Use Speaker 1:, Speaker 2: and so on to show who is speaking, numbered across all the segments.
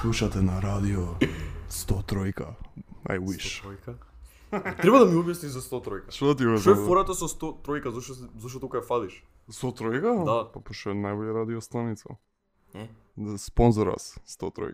Speaker 1: слушате на радио 103. I wish.
Speaker 2: Тројка. Треба да ми објасни за 100 тројка.
Speaker 1: Што ти го
Speaker 2: Што е фората со 100 тројка, зашто се- зашто тука е фадиш?
Speaker 1: 103?
Speaker 2: Да.
Speaker 1: Па пошто е најбоја радиостаница.
Speaker 2: Е.
Speaker 1: Да спонзор нас 103.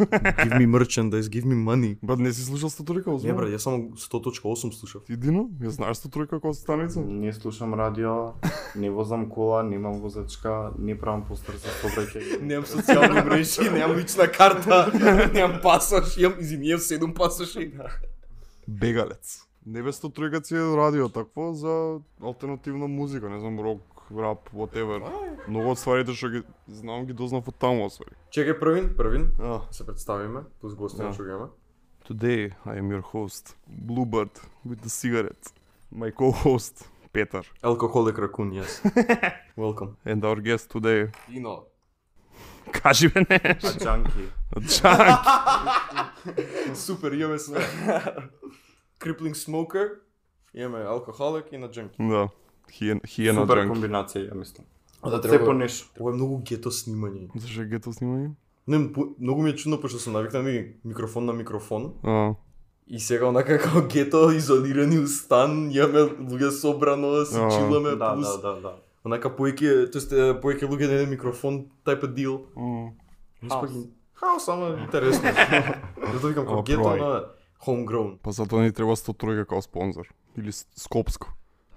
Speaker 2: Give me merchandise, give me money.
Speaker 1: Брат, не си слушал 103
Speaker 2: Не
Speaker 1: озбор?
Speaker 2: брат, ја само 100.8 слушав.
Speaker 1: Ти Дино, ја знаеш 103 како станица?
Speaker 3: Не слушам радио, не возам кола, немам возачка, не правам постер за собраќање.
Speaker 2: Немам социјални мрежи, немам лична карта, немам пасош, имам изимиев 7 пасоши.
Speaker 1: Бегалец. Небе 103 си е радио такво за алтернативна музика, не знам, рок, рап, whatever. Многу од стварите што ги знам ги дознав од таму освари.
Speaker 2: Чекај првин, првин.
Speaker 1: Ah,
Speaker 2: Се представиме, плюс гости
Speaker 1: Да.
Speaker 2: на чугаме.
Speaker 1: today I am your host, Bluebird with a cigarette. My co-host, Petar.
Speaker 2: Алкохолик ракун, јас. Welcome.
Speaker 1: And our guest today,
Speaker 2: Ино.
Speaker 1: кажи бе не,
Speaker 3: А джанки.
Speaker 1: Джанк.
Speaker 2: Супер, имаме све. Crippling smoker, имаме алкохолик и на джанки.
Speaker 1: Да, хиен- хиена
Speaker 3: Супер
Speaker 1: Джанк.
Speaker 3: комбинација, ја мислам.
Speaker 2: Да,
Speaker 3: Се по нешто.
Speaker 2: Ова е многу гето снимање.
Speaker 1: Зашто ги тоа снимање?
Speaker 2: Не, м- многу ми е чудно пошто сум навикнат ми микрофон на микрофон.
Speaker 1: А,
Speaker 2: И сега онака како гето изолирани у стан, имаме луѓе собрано, си
Speaker 1: А,
Speaker 2: чиламе,
Speaker 3: Да, да,
Speaker 2: плюс
Speaker 3: да, да.
Speaker 2: Онака поеќе, тоест поеќе луѓе на еден микрофон, type of deal.
Speaker 1: м,
Speaker 3: Хаос.
Speaker 2: Хаос, ама интересно. Зато викам
Speaker 1: Ама
Speaker 2: како гето
Speaker 1: проај.
Speaker 2: на homegrown.
Speaker 1: Па затоа ни треба 103 како спонзор. Или С- Скопско.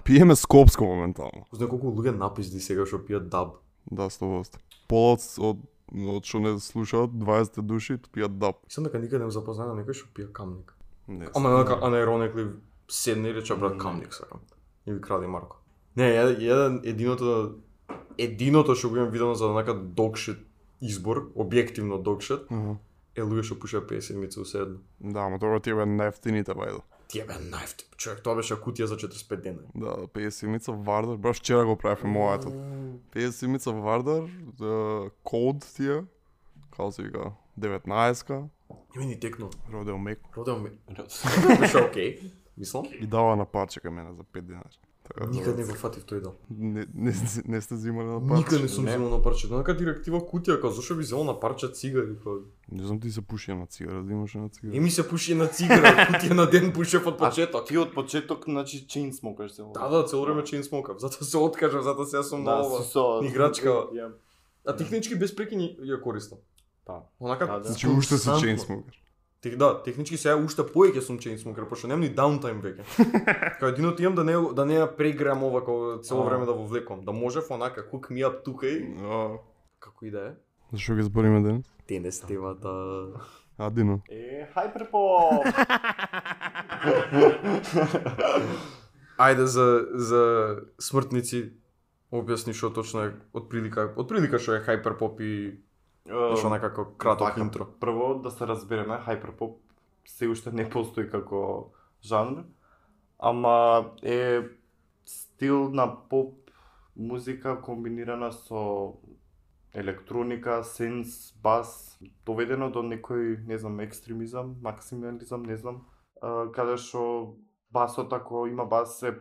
Speaker 1: Пиеме Скопско моментално.
Speaker 2: Знае колку луѓе напизди сега што пијат даб.
Speaker 1: Да, 100%. Пола од, од, од што не слушаат, 20 души пијат дап.
Speaker 2: Мислам дека така никаде не запознаа на некој што пија камник.
Speaker 1: Не,
Speaker 2: Ама онака unironically седне и рече брат камник сакам. И ви краде Марко. Не, ја- еден единото единото што го имам видено за онака докшит избор, објективно докшит,
Speaker 1: Аха.
Speaker 2: е луѓе што пушеа 57 уседно.
Speaker 1: Да, ама тоа ти бе најефтините, бајде.
Speaker 2: Тие бе најфти. Човек, тоа беше кутија за 45 дена.
Speaker 1: Да, 50 мица Вардар, баш вчера го правевме мојата. 50 мица Вардар, е, код тие, како се вика, 19-ка,
Speaker 2: Име ни текно.
Speaker 1: родел меко.
Speaker 2: Родел ми. Беше окей. Мислам.
Speaker 1: И дава на парче кај мене за 5 динари. Така, да,
Speaker 2: Никад не го фатив тој дел.
Speaker 1: не, не, не сте зимали на парче?
Speaker 2: Никад не сум
Speaker 3: не.
Speaker 2: земал на парче. Онака директива кутија, као зашо би земал на парче цигари, као.
Speaker 1: Не знам ти се пуши една цигара, да имаш една цигара.
Speaker 2: И ми се пуши на цигара, кутија на ден пушев од почеток.
Speaker 3: Ти од почеток, значи, чейн смокаш се
Speaker 2: Да, да, цело време чейн смокав. Затоа се откажав, затоа сега сум
Speaker 3: Да,
Speaker 2: на ова.
Speaker 3: со...
Speaker 2: играчка.
Speaker 3: Ја-
Speaker 2: А технички без прекини ја користам.
Speaker 3: Па.
Speaker 2: Онака
Speaker 3: Да, да.
Speaker 1: Значи уште си
Speaker 2: константно.
Speaker 1: чейнсмокер.
Speaker 2: Тех, да, технички сега уште поеќе сум чейн смокер, пошто немам ни даунтайм веќе. Као единото имам да не да не ја преграм ова како цело
Speaker 3: А.
Speaker 2: време да во влекам, да можев онака cook me up тука и како и да е.
Speaker 1: Зашо ги збориме денес?
Speaker 2: Денес темата.
Speaker 1: А, Дино.
Speaker 3: Е, хайперпоп!
Speaker 2: Ајде за за смртници објасни што точно е од прилика, од прилика што е хайперпоп и што
Speaker 3: Е,
Speaker 2: онака како краток
Speaker 3: Вака,
Speaker 2: интро.
Speaker 3: Така. Прво да се разбереме, хайперпоп се уште не постои како жанр, ама е стил на поп музика комбинирана со електроника, сенс, бас, доведено до некој, не знам, екстремизам, максимализам, не знам, а, каде што басот ако има бас е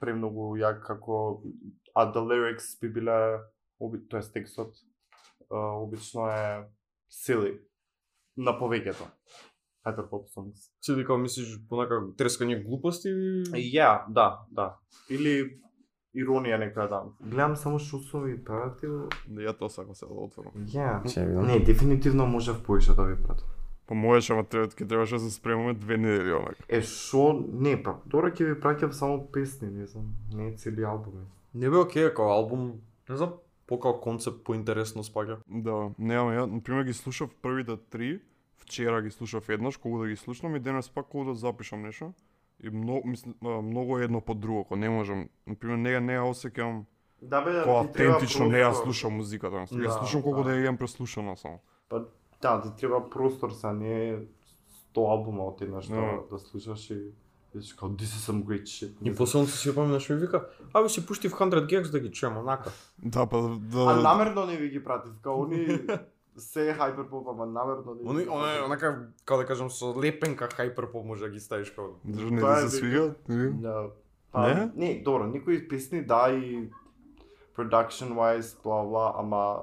Speaker 3: премногу јак како а the lyrics би биле оби- тоест текстот а, обично е сили на повеќето. Hyperpop songs.
Speaker 2: Се вика мислиш онака трескање глупости и
Speaker 3: Ја, да, да. Или иронија некоја да. Гледам само што сум ви пратил.
Speaker 1: Да, ја тоа сакам се да отворам.
Speaker 3: Ја.
Speaker 2: Ќе
Speaker 1: да.
Speaker 2: видам.
Speaker 3: Не, дефинитивно може повеќе да ви пратам.
Speaker 1: Па можеш, ама треба, ке требаше да се спремаме две недели онак.
Speaker 3: Е, шо? Не, па, добро ќе ви праќам само песни, не знам, не цели албуми.
Speaker 2: Не бе окей како албум, не знам, покао концепт поинтересно спаѓа.
Speaker 1: Да, не, ама ја, например, ги слушав првите три, вчера ги слушав еднаш, колку да ги слушнам и денес пак колку да запишам нешто. И многу, мислам, а, многу е едно по друго, ако не можам. Например, не, не ја осеќам
Speaker 3: Да бе,
Speaker 1: кој
Speaker 3: ти треба
Speaker 1: автентично не ја
Speaker 3: простор.
Speaker 1: слушам музиката. Да,
Speaker 3: Да,
Speaker 1: ја слушам колку
Speaker 3: да.
Speaker 1: да ја имам преслушана само.
Speaker 3: Да, ти треба простор са, не 100 албума од еднаш да,
Speaker 1: Да.
Speaker 3: да слушаш и Виш као, this is some great shit.
Speaker 2: И после се си поминаш ми вика, а бе си пушти в 100 Gex да ги чуем онака.
Speaker 1: Да, па
Speaker 3: А
Speaker 1: да...
Speaker 3: намерно не ви ги пратив, као они се хайперпоп, ама намерно не.
Speaker 2: Они, она е онака, како да кажам, со лепенка хайперпоп може да ги ставиш како
Speaker 1: Дали не
Speaker 3: Тоа е
Speaker 1: ти се свига? Или?
Speaker 3: Да. Па,
Speaker 1: Не?
Speaker 3: не? не, добро, некои песни да и production wise, бла бла, ама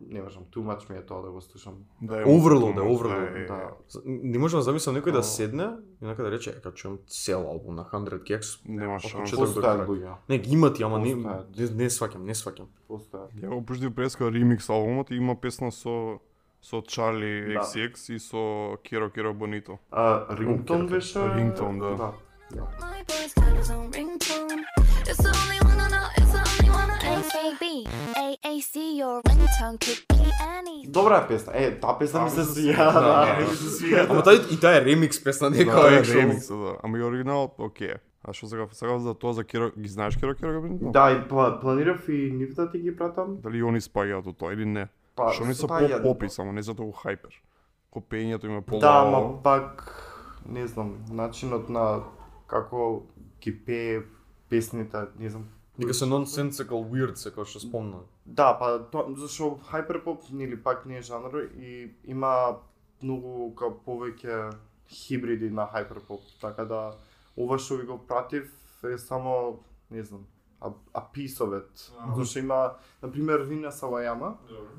Speaker 3: не можам, тумач ми е тоа да го слушам.
Speaker 1: Да е
Speaker 2: Overload,
Speaker 1: тумач,
Speaker 2: overload,
Speaker 1: е, е,
Speaker 3: Да.
Speaker 2: Не можам да замислам некој
Speaker 3: Ало.
Speaker 2: да седне и нака да рече, е, кај чуем цел албум на 100 Gex.
Speaker 1: Нема
Speaker 2: Ако
Speaker 1: шанс.
Speaker 2: Четвртот чет-
Speaker 3: Постојат
Speaker 2: крак.
Speaker 3: луѓе,
Speaker 2: Не, ги имат, ја, ама не, не,
Speaker 3: Постојат.
Speaker 2: не сваќам, не сваќам.
Speaker 3: постојат.
Speaker 1: Ја го пуштив преска ремикс албумот и има песна со со Чарли
Speaker 3: Да.
Speaker 1: XCX и со Киро Киро Бонито.
Speaker 3: А, рингтон
Speaker 2: Окей,
Speaker 3: беше...
Speaker 1: Рингтон, да.
Speaker 3: Ја.
Speaker 4: My boy's got his own ringtone. It's the only one I know. It's the only one I
Speaker 5: KKB, AAC, your ringtone could be anything.
Speaker 3: Добра е песна. Е, таа песна ми се свија.
Speaker 2: Да,
Speaker 3: Да,
Speaker 2: да.
Speaker 3: ми се свија.
Speaker 2: Ама тај и тај е ремикс песна
Speaker 1: Тоа
Speaker 2: нека
Speaker 1: Така, е
Speaker 2: е
Speaker 1: ремикс, да. Ама и оригиналот, окей. А што сега сега за тоа за Киро, ги знаеш Киро Киро Бонито?
Speaker 3: Да, и пла- планирав и нив да ти ги пратам.
Speaker 1: Дали и они спаѓаат од тоа или не?
Speaker 3: Па,
Speaker 1: Што не се
Speaker 3: со таа
Speaker 1: поп
Speaker 3: јадна.
Speaker 1: попи само, не за толку хайпер. Копењето има по
Speaker 3: Да, ама пак, не знам, начинот на како ги пее песните, не знам.
Speaker 2: Нека се nonsensical weird се кој што спомна.
Speaker 3: Да, па тоа, зашо хайперпоп нели пак не е жанр и има многу ка повеќе хибриди на хайперпоп, така да ова што ви го пратив е само, не знам, а, а писовет. Зашо има, на пример, Рина Савајама,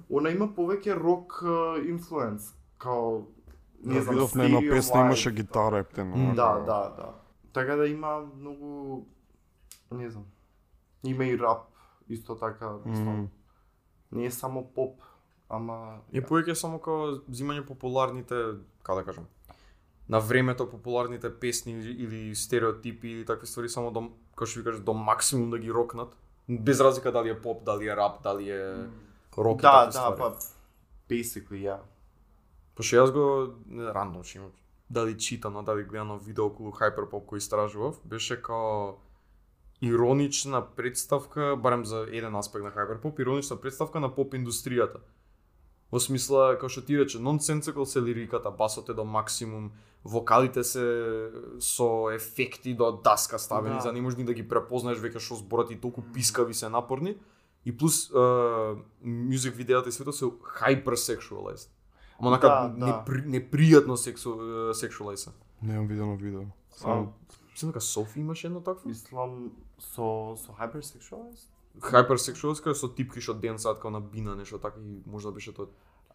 Speaker 3: она има повеќе рок е, инфлуенс, као, не знам,
Speaker 1: видов на една
Speaker 3: Stereo
Speaker 1: песна
Speaker 3: Wise.
Speaker 1: имаше гитара ептено.
Speaker 2: М,
Speaker 3: Да, да, да. Така да има многу не знам. Има и рап исто така, mm. не е само поп, ама
Speaker 2: И
Speaker 3: ја,
Speaker 2: повеќе само како взимање популарните, како да кажам, на времето популарните песни или- или стереотипи или такви ствари само до како што ви кажеш до максимум да ги рокнат, без разлика дали е поп, дали е рап, дали е рок и
Speaker 3: Да,
Speaker 2: такви
Speaker 3: да,
Speaker 2: ствари.
Speaker 3: па basically ја.
Speaker 2: Пошто јас го не, рандом што имам. Дали читано, дали гледано видео околу Hyperpop кој истражував, беше као иронична представка, барем за еден аспект на Hyperpop, иронична представка на поп индустријата. Во смисла, како што ти рече, нонсенсикал се лириката, басот е до максимум, вокалите се со ефекти до даска ставени,
Speaker 3: Да.
Speaker 2: да. за да не можеш ни да ги препознаеш веќе што зборат и толку пискави се напорни. И плюс, е, мюзик видеата и свето се hypersexualized. Ама нака
Speaker 3: Да,
Speaker 2: да,
Speaker 3: да.
Speaker 2: непри, непријатно сексу, е, сексуализа.
Speaker 1: Немам видено видео. Само
Speaker 2: Се дека Софи имаше едно такво?
Speaker 3: Па, Мислам со со hypersexualized?
Speaker 2: Hypersexualized кај со типки што денсаат као на бина нешто така и можда беше тоа.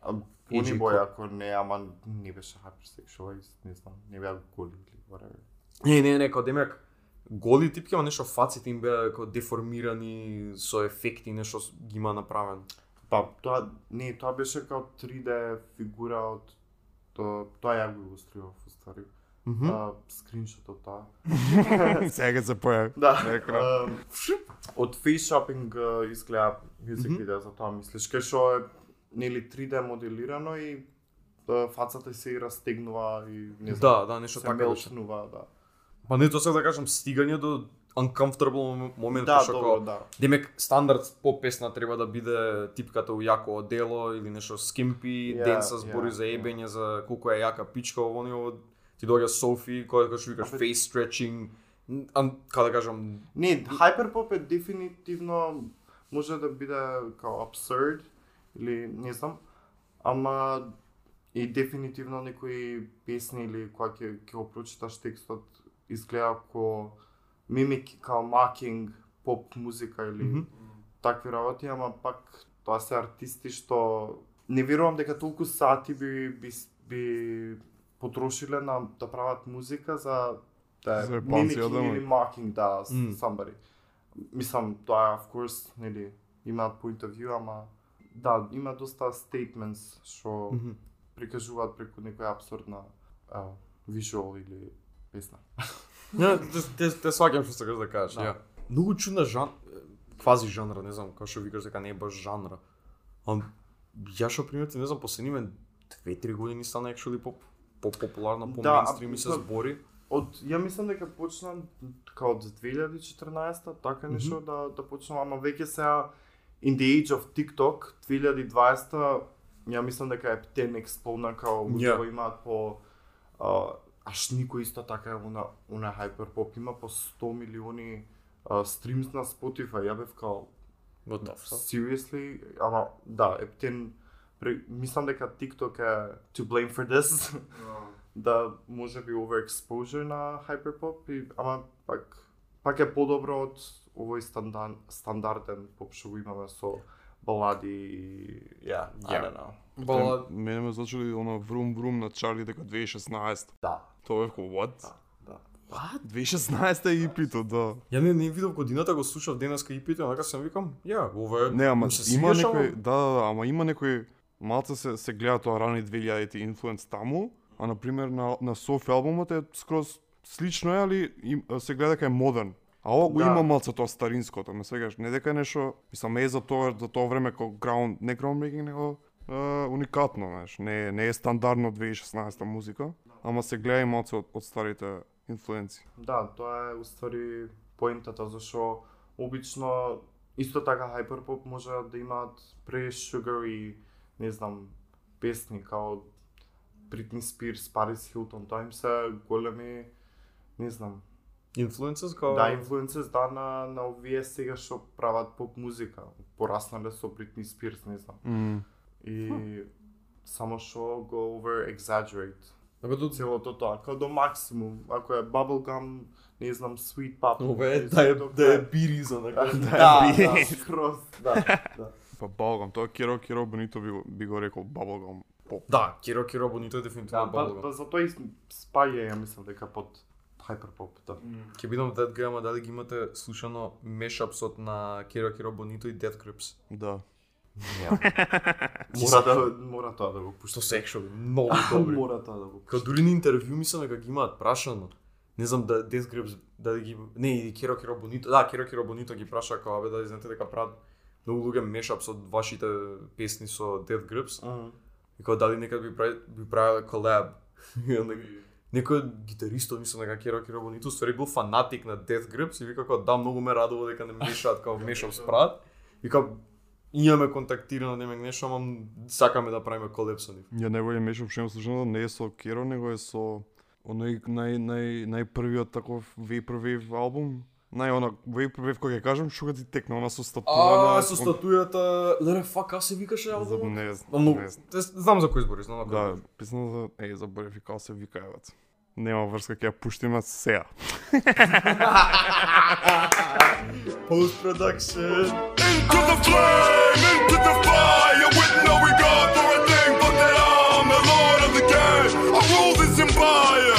Speaker 3: А,
Speaker 2: Иджи
Speaker 3: Они бој
Speaker 2: Коп.
Speaker 3: ако не, ама не беше hypersexualized, не знам, не беа голи или whatever.
Speaker 2: Не, не, не, као демек голи типки, ама нешто фаците им беа како деформирани со ефекти, нешто с- ги има направен.
Speaker 3: Па тоа не, тоа беше како 3D фигура од тоа, тоа ја го илустрирав устари.
Speaker 2: Мгм.
Speaker 3: Mm? скриншот од тоа.
Speaker 1: сега се појави.
Speaker 3: Да.
Speaker 1: Екран.
Speaker 3: ам, Од face shopping а, изгледа music
Speaker 2: Мгм.
Speaker 3: video за тоа мислиш, кај што е нели 3D моделирано и а, фацата се и растегнува и не знам.
Speaker 2: Да, да, нешто
Speaker 3: се
Speaker 2: така беше.
Speaker 3: мелчнува, да.
Speaker 2: Па не тоа се да кажам стигање до uncomfortable мом- момент
Speaker 3: Да,
Speaker 2: што
Speaker 3: добро,
Speaker 2: као
Speaker 3: да.
Speaker 2: Демек стандард по песна треба да биде типката у јако одело или нешто скимпи,
Speaker 3: Ја,
Speaker 2: yeah, ден се збори
Speaker 3: ја,
Speaker 2: yeah, за
Speaker 3: ја.
Speaker 2: ебење, за колку е јака пичка ово ни ово, ти доаѓа Софи, која кој што викаш
Speaker 3: Абе-
Speaker 2: face stretching, ан, како да кажам,
Speaker 3: Не, hyperpop е дефинитивно може да биде као absurd или не знам, ама и дефинитивно некои песни или кога ќе ќе го прочиташ текстот изгледа како мимик као макинг поп музика или mm
Speaker 2: Мгм.
Speaker 3: -hmm. такви работи, ама пак тоа се артисти што не верувам дека толку сати би би, би потрошиле на да прават музика за да
Speaker 1: За
Speaker 3: е
Speaker 1: панци
Speaker 3: мимикинг
Speaker 1: одамот.
Speaker 3: или mocking да с-
Speaker 2: Мм.
Speaker 3: somebody. Мислам тоа of course нели има point of view, ама да, има доста statements што
Speaker 2: мгм,
Speaker 3: прикажуваат преку некоја абсурдна а, visual или песна.
Speaker 2: Не, те- те, те сваќам што сакаш да кажеш,
Speaker 3: Да.
Speaker 2: ја. Многу чудна жан квази жанра, не знам, како што викаш дека не е баш жанра. А ја што примети, не знам, последниве 2-3 години стана actually по по популарна, по
Speaker 3: Да, а,
Speaker 2: мејнстрим и се
Speaker 3: па-
Speaker 2: збори.
Speaker 3: Од ја мислам дека почнам као од 2014 така нешто mm -hmm. да да почнам, ама веќе сега in the age of TikTok 2020 ја мислам дека е 10x полна као луѓе
Speaker 2: Ја.
Speaker 3: кои имаат по а, аш никој исто така она она hyperpop има по 100 милиони а, стримс на Spotify. Ја бев као
Speaker 2: What the fuck?
Speaker 3: seriously, ама да, ептен пре- мислам дека TikTok е to blame for this. да може би overexposure на hyperpop и ама пак пак е подобро од овој стандан, стандарден поп што го имаме со балади и ја, ја, не знам.
Speaker 2: Бала...
Speaker 1: Мене ме зачуди она врум врум на Чарли дека 2016.
Speaker 3: Да,
Speaker 1: Тоа е како what?
Speaker 3: да.
Speaker 1: What? 2016 е ипито, да.
Speaker 2: Ја не, не видов годината, го слушав денеска и питам, онака сам викам, ја, ова е...
Speaker 1: Не, ама
Speaker 2: ми се
Speaker 1: има
Speaker 2: свигаш, ама-
Speaker 1: некој, да, да, да, ама има некој малце се се гледа тоа рани 2000-ти инфлуенс таму, а на пример на на Софи албумот е скроз слично е, али им, се гледа дека е модерн. А ова го
Speaker 3: Да.
Speaker 1: има малце тоа старинското, ме сегаш, не дека е нешто, мислам е за тоа за тоа време како ground, не groundbreaking, него е, уникатно, знаеш, не е- не е стандардно 2016 музика, ама се гледа и малце од, од старите инфлуенци.
Speaker 3: Да, тоа е уствари поентата зашо обично исто така хайперпоп може да имаат пре Sugar и не знам песни као Бритни Спирс, Парис Хилтон, тоа им се големи не знам,
Speaker 2: Influences као...
Speaker 3: да инфлуенсес да на, на овие сега што прават поп музика, пораснале со Бритни Спирс, не знам.
Speaker 1: Mm.
Speaker 3: И само што го over exaggerate
Speaker 2: Абе, до...
Speaker 3: целото тоа, као до максимум, ако е bubblegum, не знам, sweet pop.
Speaker 2: Ова е,
Speaker 3: не
Speaker 2: да е,
Speaker 3: знам до
Speaker 2: да е
Speaker 3: крај.
Speaker 2: бириза,
Speaker 3: Да,
Speaker 2: онака.
Speaker 3: да, да, скроз, да, да.
Speaker 1: Па балгам, тоа Киро Киро Бенито би, го- би го рекол бабалгам поп.
Speaker 2: Да, Киро Киро Бонито е
Speaker 3: Да,
Speaker 2: дефинитивно
Speaker 3: па,
Speaker 2: да,
Speaker 3: па затоа и спаја, ја мислам дека под хайперпоп, да.
Speaker 2: Ќе бидам дед грама дали ги имате слушано мешапсот на Киро Киро Бонито и Dead Grips.
Speaker 1: Да.
Speaker 3: Мора да, мора тоа да го пушта.
Speaker 2: Пушто секшови, многу добри.
Speaker 3: Мора тоа да го
Speaker 2: Као
Speaker 3: пушта.
Speaker 2: дури на интервју мислам дека ги имаат прашано. Не знам да Death Grips да ги не и Киро Киро Бонито, да Киро Киро Бонито ги праша како абе дали знаете дека прават многу луѓе мешап со вашите песни со Death Grips
Speaker 3: Мгм.
Speaker 2: и како дали некад би прави би правеле колаб. И онда Да ги- Некој гитаристо мислам дека Киро Киро Бонито ствари бил фанатик на Death Grips и вика како да многу ме радува дека не мешаат како мешап прават. И како имаме контактирано неме нешто, ама сакаме да правиме колеб со нив.
Speaker 1: Ја најголем мешав што имам слушано не е со Керо, него е со оној нај нај најпрвиот таков vaporwave албум. Нај она vaporwave кој ќе кажам, шуга ти текна она со статуа
Speaker 2: А, со статујата, лере фак, аз се викаше
Speaker 1: за
Speaker 2: албумот.
Speaker 1: не
Speaker 2: А,
Speaker 1: знам.
Speaker 2: многу-
Speaker 1: Не, знам.
Speaker 2: Те, знам за кој избори, знам на кој.
Speaker 1: да, писна за е заборев и како се вика еват. Нема врска ќе ја пуштиме сеа.
Speaker 2: Post production.
Speaker 6: To the flame, into the fire, with no regard for a thing but that I'm the lord of the game. I rule this empire.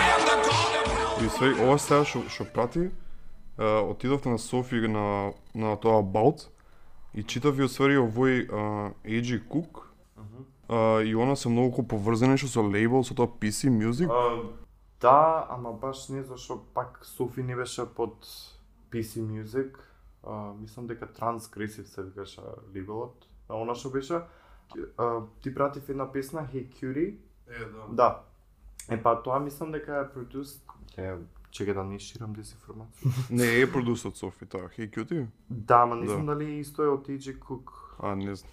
Speaker 6: I am the god of hell.
Speaker 1: И се ова сега што што прати, е, отидовте на Софи на на тоа About и читав и освари овој Еджи Кук. Uh, и она се многу поврзани што со лейбл, со тоа PC Music.
Speaker 3: А, Да, ама баш не зашо пак Софи не беше под PC Music. А, мислам дека Transgressive се викаше лиголот. А она што беше, а, ти пратив една песна Hey Cutie.
Speaker 1: Е, да.
Speaker 3: Да. Е па тоа мислам дека е продюс Е, чека да не ширам дезинформација.
Speaker 1: Не е продус од Софи, таа. Hey Cutie?
Speaker 3: да, ама не знам дали е исто е од TJ Cook.
Speaker 1: А, не знам.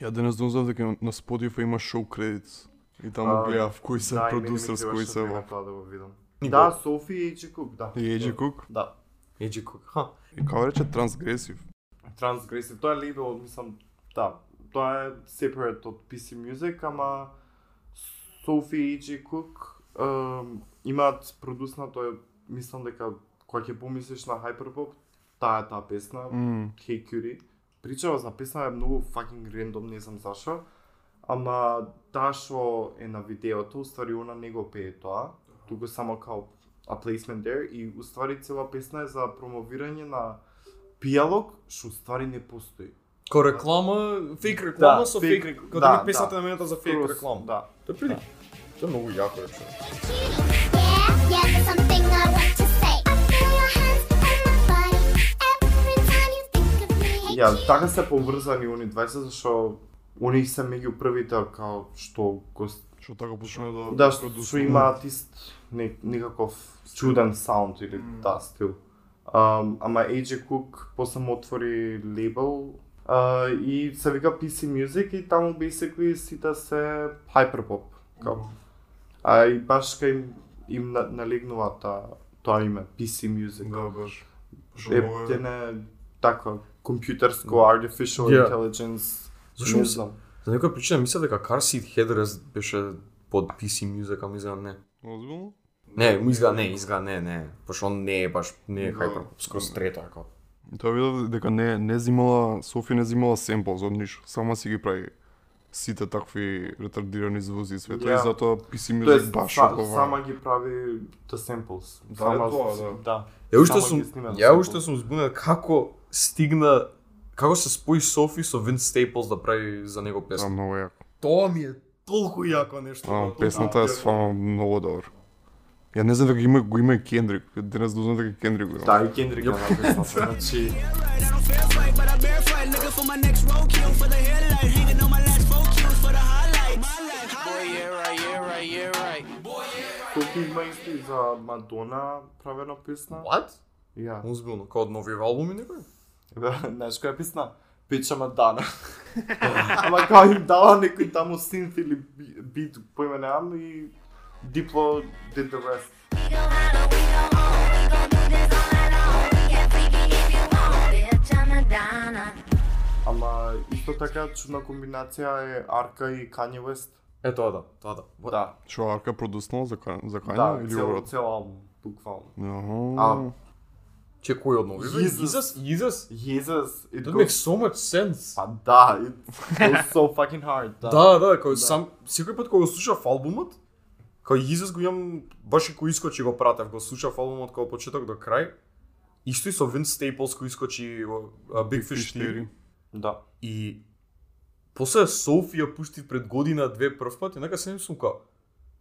Speaker 1: Ја денес дознав дека на Spotify има шоу кредитс. И таму
Speaker 3: А,
Speaker 1: гледав кој се
Speaker 3: Да, и мене ми
Speaker 1: продусер, с кој
Speaker 3: требаше
Speaker 1: се
Speaker 3: време
Speaker 1: во.
Speaker 3: Тоа да го видам.
Speaker 2: И
Speaker 3: Да, Софи и TJ Cook, да.
Speaker 1: И Еджи Кук.
Speaker 3: Да.
Speaker 2: Еджи Кук. Ха.
Speaker 1: И како рече трансгресив.
Speaker 3: Transgressive, тоа е лейбл, мислам, да, тоа е separate од PC Music, ама Софи и Джи Кук ем, имаат продуснато, е, мислам дека кога ќе помислиш на Hyperpop, таа е таа песна,
Speaker 1: Мм.
Speaker 3: Hey Curie. Причава за песна да е многу fucking рандом, не знам зашо. Ама таа што е на видеото, уствари она не го пее тоа, туку само као a placement there и уствари цела песна е за промовирање на пијалог што уствари не постои.
Speaker 2: Ко реклама, фейк реклама
Speaker 3: Да,
Speaker 2: со
Speaker 3: фейк
Speaker 2: фейк,
Speaker 3: рек-
Speaker 2: кога
Speaker 3: да,
Speaker 2: да, песната
Speaker 3: да.
Speaker 2: на мената за фейк
Speaker 3: Скрос,
Speaker 2: реклама.
Speaker 3: Да.
Speaker 2: Тоа е преди. Тоа е многу јако е што.
Speaker 5: Yeah, yeah, there's something I want to say. I feel your hands on my body every time you think of me.
Speaker 3: Ја, така се поврзани они двајца зашо они се меѓу првите као што го
Speaker 1: Што така почна да
Speaker 3: да што што имаат ист не, некаков чуден саунд или таа стил. Um, ама AJ Cook после му отвори лейбл а, и се вика PC Music и таму basically сите се hyperpop. Као. А и баш кај им, им на- налегнува та, тоа име PC Music.
Speaker 1: Да, баш. да Што
Speaker 3: Е,
Speaker 1: многу
Speaker 3: те не така компјутерско artificial
Speaker 2: Ја.
Speaker 3: intelligence.
Speaker 2: Зошто
Speaker 3: не
Speaker 2: мисля-
Speaker 3: знам.
Speaker 2: Па За некоја причина мисля дека Car Seat Headrest беше под PC Music, ама изгледа не.
Speaker 1: Озбилно?
Speaker 2: Да. Не, му изгледа не, изгледа не, не. Пошто он не е баш, не е хайпер, скоро стрето, како.
Speaker 1: И Тоа видов дека не не земала Софи не земала семплс од ништо, сама си ги прави сите такви ретардирани звуци и све тоа
Speaker 3: Ја.
Speaker 1: и затоа PC Music
Speaker 3: Тоест,
Speaker 1: баш
Speaker 3: са,
Speaker 1: ова.
Speaker 3: сама ги прави the samples.
Speaker 1: Да,
Speaker 3: сама,
Speaker 1: е тоа, да.
Speaker 3: да.
Speaker 2: Ја уште
Speaker 3: Само
Speaker 2: сум
Speaker 3: ги снима за
Speaker 2: ја
Speaker 3: Staples.
Speaker 2: уште сум збунен како стигна како се спои Софи со Вин Стейплс да прави за него
Speaker 1: Да,
Speaker 2: песна.
Speaker 1: многу јако.
Speaker 2: Тоа ми е толку јако нешто.
Speaker 1: А,
Speaker 2: толку
Speaker 1: песната е
Speaker 2: јако.
Speaker 1: стварно многу добра. Ја не знам дека има го има и Кендрик. Денес дознав дека Кендрик го има.
Speaker 3: Да, и Кендрик ја написна. Значи, колку има исто и за Мадона правена песна?
Speaker 2: What?
Speaker 3: Ја.
Speaker 2: Озбилно, како од нови албуми некој?
Speaker 3: Да, знаеш која песна? Печама дана. Ама кај им дава некој таму синт или би- бит, поиме неам и Дипло did the rest. Ама исто така чудна комбинација е Арка и Kanye West.
Speaker 2: Е тоа да, тоа да. What?
Speaker 3: Да,
Speaker 1: Што Арка продуснал за Кан- за Кања
Speaker 3: да,
Speaker 1: или
Speaker 3: цел,
Speaker 1: обратно?
Speaker 3: цел албум, буквално.
Speaker 1: Аха.
Speaker 3: А.
Speaker 2: Че кој од нови?
Speaker 3: Jesus.
Speaker 2: Jesus, Jesus.
Speaker 3: Jesus, it
Speaker 2: That
Speaker 3: goes...
Speaker 2: makes so much sense.
Speaker 3: Па да, it goes so fucking hard, да.
Speaker 2: Да, да, кој сам секој пат кога го слушав албумот, кога Jesus го имам баш и кој искочи го пратев, го слушав албумот кога почеток до крај. Исто и со Vince Staples кој искочи во а, Big Fish 4
Speaker 3: Да.
Speaker 2: и после Софија пушти пред година две прв пат и нека се сум као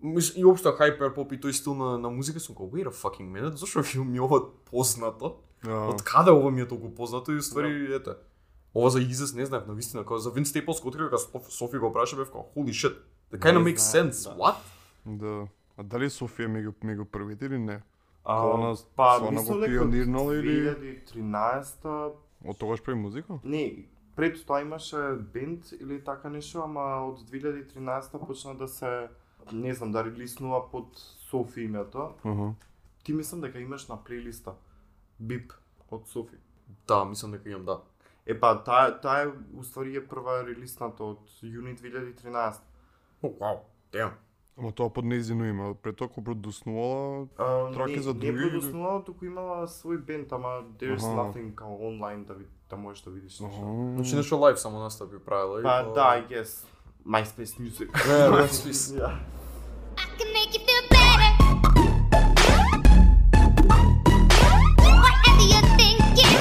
Speaker 2: мис- и општо Hyperpop и тој стил на, на музика сум као wait a fucking minute, зашто ви ми ова познато?
Speaker 1: Да.
Speaker 2: Од каде ова ми е толку познато и ствари
Speaker 3: Да.
Speaker 2: ете. Ова за Изис не знаев навистина, кога за Вин Стейплс кога открив кога Соф- Софи го праша бев као holy shit. That kind of
Speaker 3: Не
Speaker 2: makes
Speaker 3: знаев,
Speaker 2: sense.
Speaker 3: да.
Speaker 2: What?
Speaker 1: Да. А дали Софија меѓу меѓу првите или не?
Speaker 3: А,
Speaker 1: Кона-
Speaker 3: па,
Speaker 1: Кона го
Speaker 3: дека
Speaker 1: пионирнала или-
Speaker 3: 2013
Speaker 1: Од тогаш прави музика?
Speaker 3: Не, пред тоа имаше бенд или така нешто, ама од 2013 почна да се не знам, да релиснува под Софи името.
Speaker 1: Аха.
Speaker 3: Ти мислам дека имаш на плейлиста Бип од Софи.
Speaker 2: Да, мислам дека имам да.
Speaker 3: Е па таа таа е уствари е прва релисната од јуни 2013.
Speaker 2: О, вау. Damn.
Speaker 1: Ама тоа под нејзино име. Пред тоа кога продуснувала
Speaker 3: А,
Speaker 1: Траки
Speaker 3: не,
Speaker 1: за други
Speaker 3: Не
Speaker 1: или-
Speaker 3: продуснувала, туку имала свој бенд, ама there's
Speaker 1: Аха.
Speaker 3: nothing као онлайн да ви, да можеш да видиш нешто.
Speaker 2: Значи
Speaker 1: Аха.
Speaker 2: нешто лайв само настапи правила. и
Speaker 3: Па
Speaker 2: тоа-
Speaker 3: да, I guess. MySpace Music.
Speaker 2: Не, MySpace.
Speaker 3: Ја.
Speaker 5: I can make you feel better. Whatever you're thinking.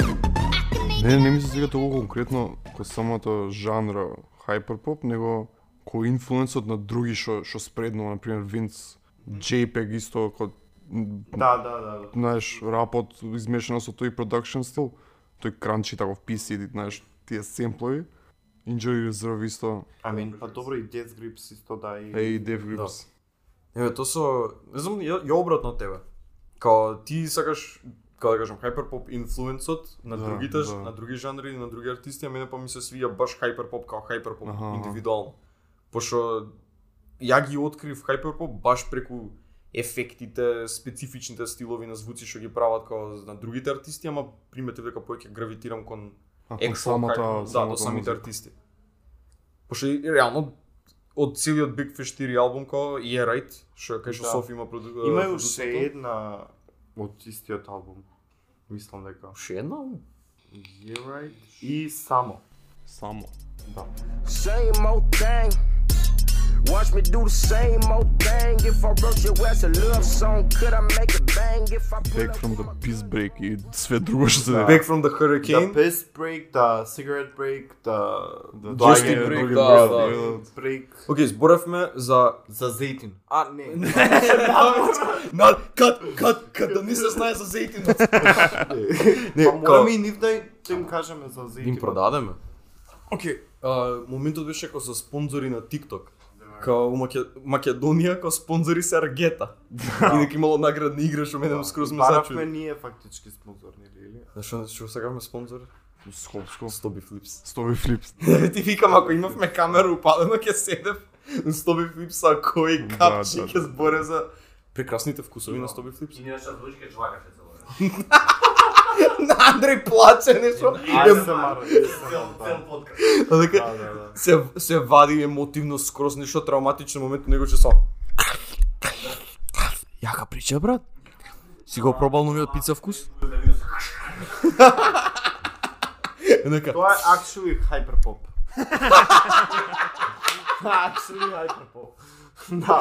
Speaker 5: I can make
Speaker 1: Не, не ми се свига толку конкретно кој самото жанра хайперпоп, него кој инфлуенсот на други што што спредно, на пример Винц, JPEG исто кој
Speaker 3: Да, да, да. да.
Speaker 1: знаеш, рапот измешано со тој продакшн стил, тој кранчи таков PC, знаеш, тие семплови, Injury Reserve исто,
Speaker 3: I mean, па добро и Death Grips исто да и...
Speaker 1: Hey Dev Grips.
Speaker 2: Еве, тоа со, не знам, ја, ја обратно од тебе. Као ти сакаш, како да кажам, хайперпоп инфлуенсот на
Speaker 1: Да,
Speaker 2: другите,
Speaker 1: да.
Speaker 2: на други жанри и на други артисти, а мене па ми се свиѓа баш хайперпоп као хайперпоп
Speaker 1: Аха, аха.
Speaker 2: индивидуално. Пошто ја ги открив хайперпоп баш преку ефектите, специфичните стилови на звуци што ги прават као на другите артисти, ама приметив дека повеќе гравитирам кон
Speaker 1: А, кон
Speaker 2: Actual hype,
Speaker 1: самата,
Speaker 2: да, до
Speaker 1: самата музика.
Speaker 2: самите артисти. Пошто и реално од целиот Big Fish 4 албум као и е right, што кај што
Speaker 3: Да.
Speaker 2: Софи има проду...
Speaker 3: Има и
Speaker 2: продуцент.
Speaker 3: уште една од истиот албум. Мислам дека.
Speaker 2: Уште една?
Speaker 3: You're right. И само.
Speaker 1: Само.
Speaker 3: Да.
Speaker 7: Same old thing. Watch me do the same old thing. If I wrote you as a love song, could I make it bang? If I pull
Speaker 1: Back
Speaker 7: up
Speaker 1: from the Peace Break и све друго што се
Speaker 3: Да.
Speaker 1: деде.
Speaker 2: Back from the
Speaker 3: The
Speaker 2: Hurricane.
Speaker 3: piss break, the cigarette break, the...
Speaker 1: Да,
Speaker 2: Just
Speaker 1: да,
Speaker 2: a
Speaker 1: е,
Speaker 2: break,
Speaker 1: други
Speaker 2: да,
Speaker 1: брат,
Speaker 2: да.
Speaker 1: е,
Speaker 3: Break.
Speaker 2: Океј, зборевме за...
Speaker 3: За Зейтин.
Speaker 2: А, не. На, кат, кат, кат, да не се знае за Зейтинот.
Speaker 3: Не,
Speaker 2: Не,
Speaker 3: па
Speaker 2: као-
Speaker 3: мораме и нив да и- да им кажеме за Зейтин.
Speaker 2: Им продадеме. Океј, а, моментот беше како со спонзори на TikTok. Као у Маке... Македонија, као спонзори се Аргета. И дека имало наградни игри, што мене скроз ме
Speaker 3: Баравме
Speaker 2: зачуди.
Speaker 3: ние фактички спонзорни, или?
Speaker 2: Зашо што сакавме спонзор?
Speaker 1: Скопско.
Speaker 2: Стоби Флипс.
Speaker 1: Стови флипс.
Speaker 2: Ти викам ако имавме камера упалена ќе седев на Стоби Флипс, а кој
Speaker 1: Да,
Speaker 2: капчи
Speaker 1: да,
Speaker 2: ќе
Speaker 1: да.
Speaker 2: зборе за Да. прекрасните вкусови на Стоби Флипс.
Speaker 8: Ние ще да звучи чвакаше цело.
Speaker 2: На Андреј плаче нешто.
Speaker 3: ASMR,
Speaker 8: Цел,
Speaker 3: ASMR,
Speaker 8: цел
Speaker 3: да.
Speaker 8: подкаст.
Speaker 2: А дека
Speaker 3: Да, да, да.
Speaker 2: се се вади емотивно скроз нешто травматичен момент него ќе само Јака прича брат. Си го пробал новиот пица вкус? Нека.
Speaker 3: Тоа е actually hyperpop. actually hyperpop. Да.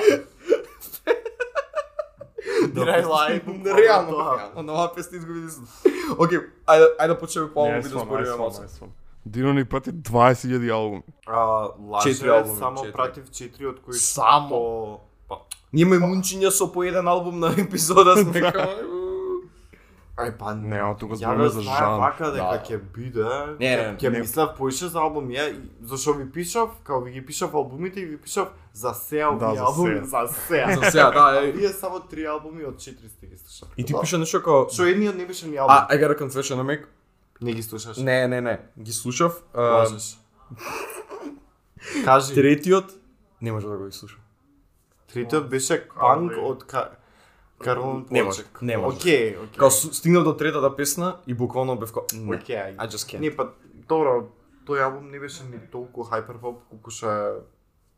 Speaker 3: Дирај лайв.
Speaker 2: Реално, реално, на ова песна изгуби десна. Океј, ајде, ајде почнеме по
Speaker 1: Не,
Speaker 2: албуми да
Speaker 1: свам,
Speaker 2: спориме
Speaker 1: ај, свам,
Speaker 2: малце.
Speaker 1: ај, свам. Дино ни прати 20.000 албуми.
Speaker 3: А,
Speaker 2: Четири
Speaker 3: лаже,
Speaker 2: албуми,
Speaker 3: само
Speaker 2: четири.
Speaker 3: пратив 4 од кои
Speaker 2: Само?
Speaker 3: што- Па,
Speaker 2: Ние имаме мунчиња со по еден албум на епизода сме како.
Speaker 3: Ај па
Speaker 1: Не, а тука
Speaker 3: Ја
Speaker 1: зборуваме
Speaker 3: да
Speaker 1: за
Speaker 3: знаам
Speaker 1: жанр.
Speaker 3: вака дека
Speaker 2: Да.
Speaker 3: ќе биде.
Speaker 2: Не, не,
Speaker 3: ќе
Speaker 1: не.
Speaker 3: мислев поише за албум ја и- зашо ви пишав, као ви ги пишав албумите и ви пишав за се овие
Speaker 1: за
Speaker 3: албуми за се.
Speaker 2: За сега, да, е. Да.
Speaker 3: Вие само три албуми од 400 ги слушав.
Speaker 2: И ти пише нешто како
Speaker 3: Што едниот не беше ни албум.
Speaker 2: А, I got a confession to make.
Speaker 3: Не ги слушаш.
Speaker 2: Не, не, не. Ги слушав. а,
Speaker 3: Можеш. Кажи,
Speaker 2: Третиот не може да го изслушам.
Speaker 3: тритот беше панк од Ка- Карлон
Speaker 2: Не може,
Speaker 3: Плочек.
Speaker 2: не може.
Speaker 3: Океј, океј.
Speaker 2: Као су- стигнав до третата песна и буквално бев како не.
Speaker 3: Океј.
Speaker 2: I just can't.
Speaker 3: Не, па, добро, тој албум не беше ни толку хайперпоп, колку ше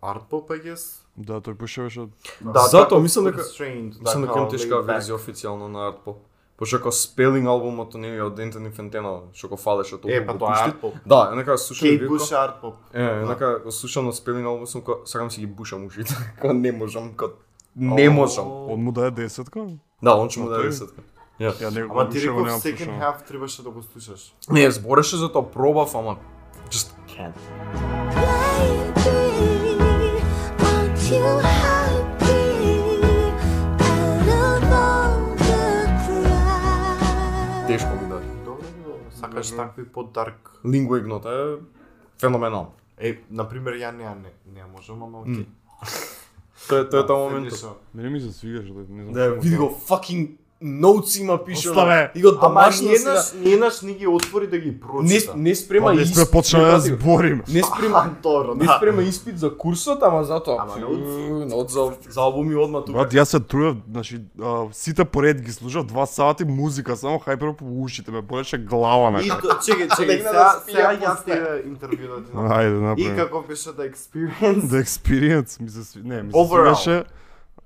Speaker 3: арт поп, I guess.
Speaker 1: Да, тој пушеваше
Speaker 3: Да,
Speaker 2: Затоа
Speaker 3: така,
Speaker 2: мислам дека-
Speaker 3: constrained,
Speaker 2: Мислам дека
Speaker 3: така,
Speaker 2: имам тешка
Speaker 3: laid back.
Speaker 2: верзија официјално на Art Pop. Пошто како Spelling албумот на него од Anthony Fantano, што го фалеше толку
Speaker 3: Е, па
Speaker 2: го
Speaker 3: тоа е
Speaker 2: пушти.
Speaker 3: арт поп.
Speaker 2: Да, еднака слушам
Speaker 3: Кейт
Speaker 2: Кейт
Speaker 3: Буш е арт поп.
Speaker 2: Е, еднака го слушам на Spelling албум сум како сакам си ги бушам ушите. Како не можам, како не можам.
Speaker 1: Он му даде десетка?
Speaker 2: Да, он ќе му
Speaker 1: на
Speaker 2: даде
Speaker 1: тој?
Speaker 2: десетка. Ја.
Speaker 1: Ја него
Speaker 3: Ама ти
Speaker 1: пушево
Speaker 3: реков
Speaker 1: немам
Speaker 3: second
Speaker 1: слушано.
Speaker 3: half требаше да го слушаш.
Speaker 2: Не, збореше за тоа, пробав, ама just can't. Тешко ми даде.
Speaker 3: Добре, добре, сакаш такви под-дарк.
Speaker 2: Лингва игнота е феноменално.
Speaker 3: Е, например, ја не, ја не, не ја можам, ама окей.
Speaker 2: Тоа е тоа е тоа момент.
Speaker 3: Финишо.
Speaker 1: Мене ми се свигаше, да не знам.
Speaker 2: Да,
Speaker 1: што му
Speaker 2: види
Speaker 1: кажам.
Speaker 2: го fucking notes има пише.
Speaker 1: Оставе.
Speaker 2: И го
Speaker 3: Ама
Speaker 2: домашно си да...
Speaker 3: еднаш, еднаш ни ги отвори да ги
Speaker 2: Не,
Speaker 3: прочита.
Speaker 2: не спрема
Speaker 1: Па не сме
Speaker 2: испит,
Speaker 1: почнали да
Speaker 2: брате, го.
Speaker 1: зборим.
Speaker 2: Не
Speaker 3: А,
Speaker 2: спрема,
Speaker 3: добро,
Speaker 2: не
Speaker 3: да.
Speaker 2: спрема испит за курсот, ама затоа.
Speaker 3: Ама notes.
Speaker 2: Нот за, за албуми одма тука.
Speaker 1: Брат, јас се трудев, значи, а, сите поред ги слушав, два сати музика, само хайпер по ушите, ме болеше глава на
Speaker 3: И то- чекай, чекай,
Speaker 2: Легна
Speaker 3: сега,
Speaker 2: да спи,
Speaker 3: сега
Speaker 2: ја
Speaker 3: јас
Speaker 2: после.
Speaker 3: ти интервју да ти направам.
Speaker 1: Ајде,
Speaker 3: И
Speaker 1: направи.
Speaker 3: како беше да experience?
Speaker 1: The Experience ми се сви... не, ми се
Speaker 3: Overall.
Speaker 1: свигаше.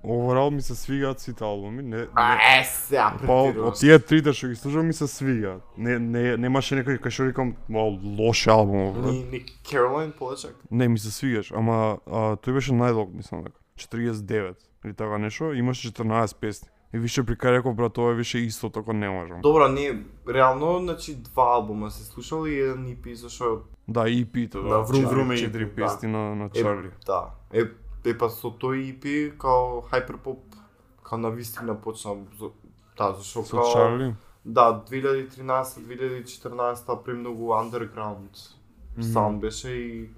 Speaker 1: Overall ми се свигаат сите албуми, не, не
Speaker 3: А, е, сега
Speaker 1: па од
Speaker 3: претируваш.
Speaker 1: од тие трите што ги слушам ми се свигаат. Не не немаше некој кој што рекам, "О, лош албум", брат.
Speaker 3: Ни, ни Caroline Polachek.
Speaker 1: Не, ми се свигаш, ама а, тој беше најдолг, мислам дека. 49 или така нешто, имаше 14 песни. И више прикареков брат, ова е више исто, тако не можам.
Speaker 3: Добра, не, реално, значи, два албума се слушал и еден EP, зашо
Speaker 1: Да, и пито, да,
Speaker 2: Да, врум, врум е
Speaker 1: четири, четири
Speaker 2: EP,
Speaker 1: песни на, на
Speaker 3: е...
Speaker 1: Чарли.
Speaker 3: Да. Е, е па со тој EP, као Hyperpop, као на вистина почна, зо- да, зашо
Speaker 1: Со
Speaker 3: као...
Speaker 1: Чарли?
Speaker 3: Да, 2013-2014 премногу underground саунд беше и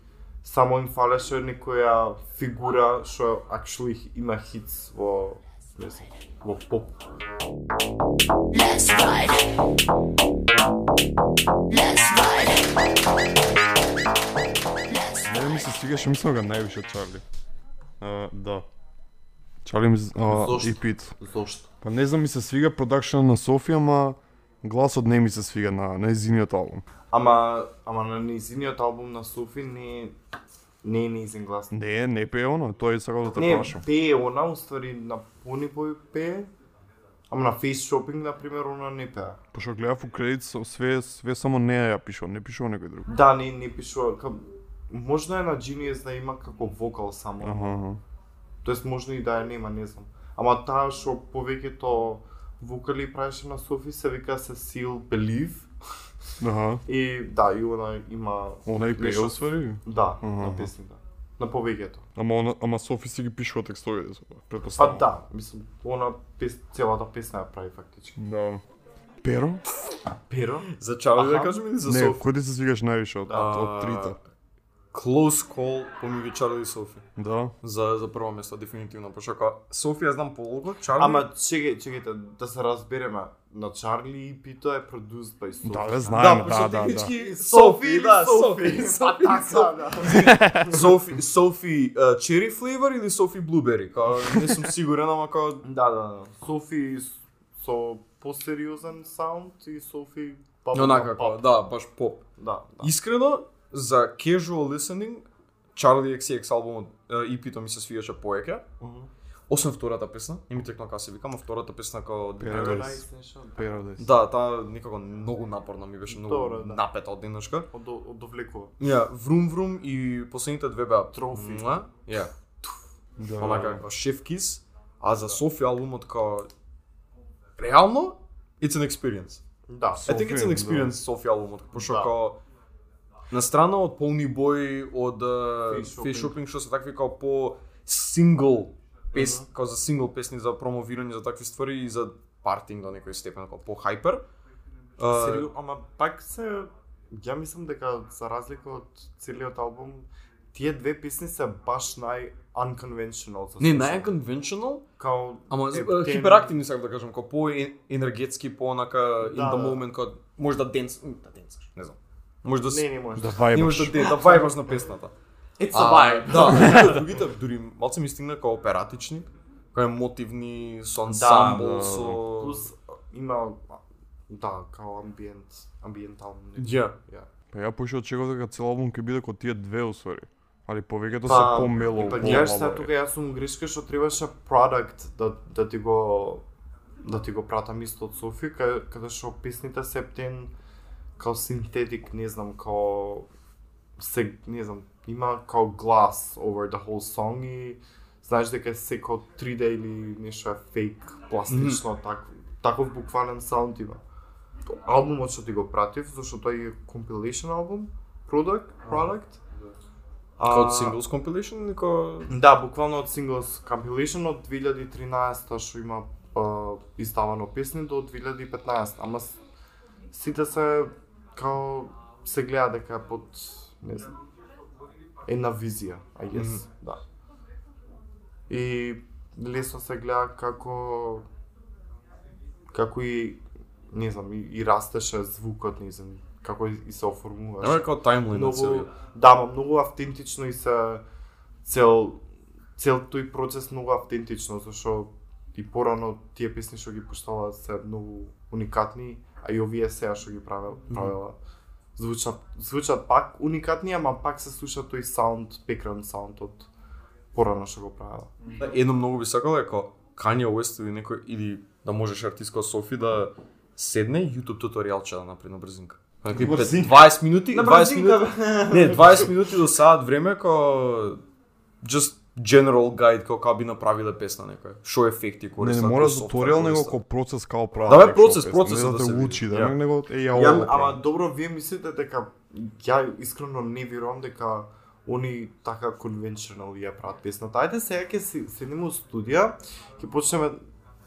Speaker 3: само им фалеше некоја фигура што actually има хитс во не знам, во поп.
Speaker 1: Не ми се свигаше, мислам дека највише Чарли. А, да. Чарли ми з- а,
Speaker 3: Зошто?
Speaker 1: и пит.
Speaker 3: Зошто?
Speaker 1: Па не знам ми се свига продакшн на Софија, ма гласот не ми се свига на на езиниот албум.
Speaker 3: Ама ама на низиниот албум на Суфи не не е низин глас.
Speaker 1: Не, не пее оно, тој сакал да те
Speaker 3: Не,
Speaker 1: прашам.
Speaker 3: пее она, уствари на пони бој пее, ама на Face Shopping, например, она не пее.
Speaker 1: Пошто гледав у кредит со- све све само не ја пишува, не пишува некој друг.
Speaker 3: Да, не, не пишува. Кам... Можна е на Genius да има како вокал само.
Speaker 1: Аха, аха.
Speaker 3: Тоест можна и да ја нема, не знам. Ама таа што повеќето вокали правеше на Софи се вика Сесил Белив.
Speaker 1: Аха.
Speaker 3: И да, и она има...
Speaker 1: Она и пее
Speaker 3: нешто-
Speaker 1: освари.
Speaker 3: Да,
Speaker 1: Аха.
Speaker 3: на песните. На повеќето.
Speaker 1: Ама она, ама Софи си ги пишува текстовите, со тоа,
Speaker 3: Па
Speaker 1: предпоставам.
Speaker 3: да, мислам, она пес, целата песна ја прави фактички.
Speaker 1: Да. Перо?
Speaker 3: Перо?
Speaker 2: За Чарли да
Speaker 3: Аха.
Speaker 2: кажем или за
Speaker 1: Не,
Speaker 2: Софи?
Speaker 1: кој ти се свигаш највише од, од, од трите?
Speaker 2: Close call помеѓу Чарли и Софи.
Speaker 1: Да.
Speaker 2: За за прво место дефинитивно, пошто како Софија знам полого, Чарли.
Speaker 3: Ама чекај, чекајте, да се разбереме. На Чарли и Пито е produced by Софи.
Speaker 1: Да, бе, знаем, да,
Speaker 2: пошто
Speaker 1: да, да.
Speaker 2: технички
Speaker 3: Софи,
Speaker 2: Софи,
Speaker 3: да,
Speaker 2: да,
Speaker 3: Софи.
Speaker 2: Софи.
Speaker 3: Па така, да.
Speaker 2: Софи, Софи а, Cherry Flavor или Софи Blueberry? Као, не сум сигурен, ама као...
Speaker 3: Да, да, да. Софи с- со посериозен саунд и Софи па
Speaker 2: Но накако, да, баш поп.
Speaker 3: Да, да.
Speaker 2: Искрено, за casual listening, Charlie XCX албумот, EP-то ми се свиеше поеке. Освен втората песна, не ми текна како се вика, ама втората песна као
Speaker 1: Paradise.
Speaker 3: нешто.
Speaker 1: Paradise.
Speaker 2: Да, таа некако многу напорна ми беше, многу
Speaker 3: Добро, да.
Speaker 2: напета од денешка.
Speaker 3: Одо- Одовлекува.
Speaker 2: Ја, врум врум и последните две беа
Speaker 3: Трофи.
Speaker 2: Муа, Ја,
Speaker 1: Да.
Speaker 2: онака како шеф кис, а
Speaker 3: Да.
Speaker 2: за Софи албумот као реално it's an experience.
Speaker 3: Да.
Speaker 2: I think it's an
Speaker 1: Софи,
Speaker 2: experience Софи албумот, пошто
Speaker 3: Да.
Speaker 2: као на страна од полни бој од
Speaker 3: Face
Speaker 2: uh, Face
Speaker 3: Shopping.
Speaker 2: Shopping што се такви као по сингл пес, као за сингл песни за промовирање за такви ствари и за партинг до некој степен, као по хайпер. А,
Speaker 3: Серио, ама пак се ја мислам дека за разлика од целиот албум тие две песни се баш нај unconventional за
Speaker 2: Не,
Speaker 3: слушање.
Speaker 2: най-конвенционал,
Speaker 3: као
Speaker 2: ама
Speaker 3: Е,
Speaker 2: е,
Speaker 3: те-
Speaker 2: хиперактивни сакам да кажам, како по-енергетски, по-онака in
Speaker 3: Да,
Speaker 2: the
Speaker 3: да.
Speaker 2: moment, како може да денс, м, да денсаш, не знам. Може да
Speaker 3: не
Speaker 2: си,
Speaker 3: не може.
Speaker 1: Да
Speaker 2: не
Speaker 1: вајбаш.
Speaker 2: може да ден, да вајбаш на песната.
Speaker 3: It's
Speaker 2: Да, другите дури малце ми стигна како оператични, како мотивни, со ансамбл,
Speaker 1: да.
Speaker 2: со...
Speaker 3: Плюс има да, као амбиент, амбиентално.
Speaker 2: Ја,
Speaker 3: Ја.
Speaker 1: Па ја пуше очекував дека цел албум ќе биде кој тие две освари. Али повеќето
Speaker 3: Па,
Speaker 1: се помело.
Speaker 3: Па гледаш сега тука јас сум грешка што требаше продукт да да ти го да ти го пратам исто од Софи, каде, каде што песните се птен као синтетик, не знам, као се, не знам, има као глас over the whole song и знаеш дека секој 3D или нешто е фейк, пластично, mm. так, таков буквален саунд има. Албумот што ти го пратив, зашто тој е compilation албум, product, product.
Speaker 2: како од singles compilation, или како...
Speaker 3: Да, буквално од Singles Compilation од 2013 што има а, издавано песни до 2015, ама с- сите се као се гледа дека е под не знам една визија, I guess,
Speaker 2: Мгм.
Speaker 3: да. И лесно се гледа како како и не знам и, и растеше звукот низен, како и, и се оформуваше
Speaker 2: Ама е како таймлайн на
Speaker 3: многу
Speaker 2: целиот.
Speaker 3: да, ма многу автентично и се цел цел тој процес многу автентично, зашо и порано тие песни што ги пуштала се многу уникатни, а и овие сега што ги правел, правела звучат звучат пак уникатни, ама пак се слуша тој саунд, background саунд од порано што го правела.
Speaker 2: Да, Едно многу би сакал е како Kanye West или некој или да можеш артист како Софи да седне и YouTube туторијалче да направи на брзинка. Значи 20 минути, 20 минути. Не, 20 минути до саат време како just general guide како како би направиле песна некоја. Што ефекти
Speaker 1: Не, не
Speaker 2: користат.
Speaker 1: мора
Speaker 2: кој софтвер
Speaker 1: туторијал него
Speaker 2: користат.
Speaker 1: како процес како права.
Speaker 2: Да, бе,
Speaker 1: нешто
Speaker 2: процес,
Speaker 1: песна,
Speaker 2: процесот
Speaker 1: не
Speaker 2: да
Speaker 1: да
Speaker 2: се
Speaker 1: те
Speaker 2: види.
Speaker 1: учи,
Speaker 2: Ја.
Speaker 1: да не него е ја
Speaker 3: Ја,
Speaker 1: ово.
Speaker 3: ама добро, вие мислите дека ја искрено не верувам дека они така конвенционал ја прават песната. Ајде сега ќе се седнеме у студија, ќе почнеме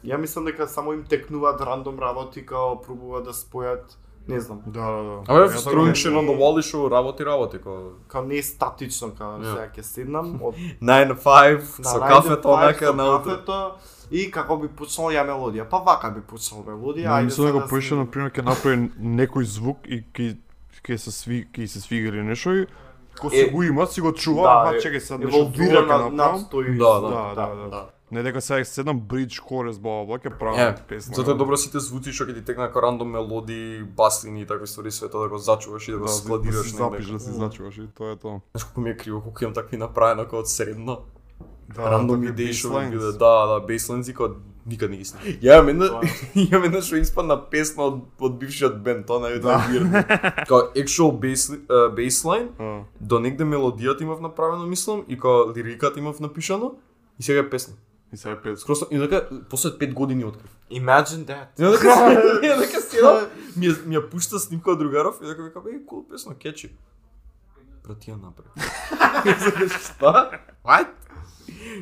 Speaker 3: Ја мислам дека само им текнуваат рандом работи као пробуваат да спојат, не знам,
Speaker 1: Да, да, да.
Speaker 2: Абе,
Speaker 1: Ја
Speaker 2: Throwing
Speaker 1: така-
Speaker 2: Shit on the Wall и шо работи, работи, како...
Speaker 3: као не е статично, као
Speaker 2: Ја.
Speaker 3: сега ќе седнам од
Speaker 2: 9 to 5, со
Speaker 3: најдем
Speaker 2: кафето,
Speaker 3: пар
Speaker 2: онака,
Speaker 3: со
Speaker 2: наутро.
Speaker 3: кафето и како би почнала ја мелодија. Па вака би почнала мелодија,
Speaker 1: Ја мислам
Speaker 3: сега да
Speaker 1: дека поише
Speaker 3: седнем.
Speaker 1: на пример ќе направи некој звук и ќе ќе се сви ќе се свига или нешто и ко
Speaker 3: Е,
Speaker 1: се го има си го чува,
Speaker 3: Да,
Speaker 1: аха
Speaker 3: е-
Speaker 1: чекај сега нешто друго ќе
Speaker 3: еволвира над
Speaker 1: направам.
Speaker 3: тој.
Speaker 2: Да, да,
Speaker 3: звук,
Speaker 1: да, да. Не дека сега седам бридж корес бла бла бла ќе правам
Speaker 2: Е,
Speaker 1: песна. да.
Speaker 2: затоа е добро сите звуци што ќе ти текна како рандом мелодии, басини и такви ствари света да го зачуваш и да го
Speaker 1: да, да
Speaker 2: складираш
Speaker 1: си запиш, да
Speaker 2: негде.
Speaker 1: си значуваш и тоа е тоа.
Speaker 2: Знаеш колку ми е криво колку имам такви направено како од средно.
Speaker 1: Да,
Speaker 2: Рандом
Speaker 1: такви
Speaker 2: идеи што ми
Speaker 1: baselines.
Speaker 2: биде, да, да, бейслайнс и како никад не ги сни. Ја имам една, ја имам една што испадна песна од од бившиот бенд, тоа најде да. Како actual bass baseline,
Speaker 1: А.
Speaker 2: до негде мелодијата имав направено, мислам, и како лириката имав напишано, и сега е песна.
Speaker 1: И сега е песна.
Speaker 2: Скоро сам- и дека после 5 години открив.
Speaker 3: Imagine that.
Speaker 2: Ја дека се, ја дека седам, ми ја- ми ја пушта снимка од другаров и дека ми кажа, "Еј, кул песна, кечи." Брат, ти ја направи. Ја викам, Шта? What?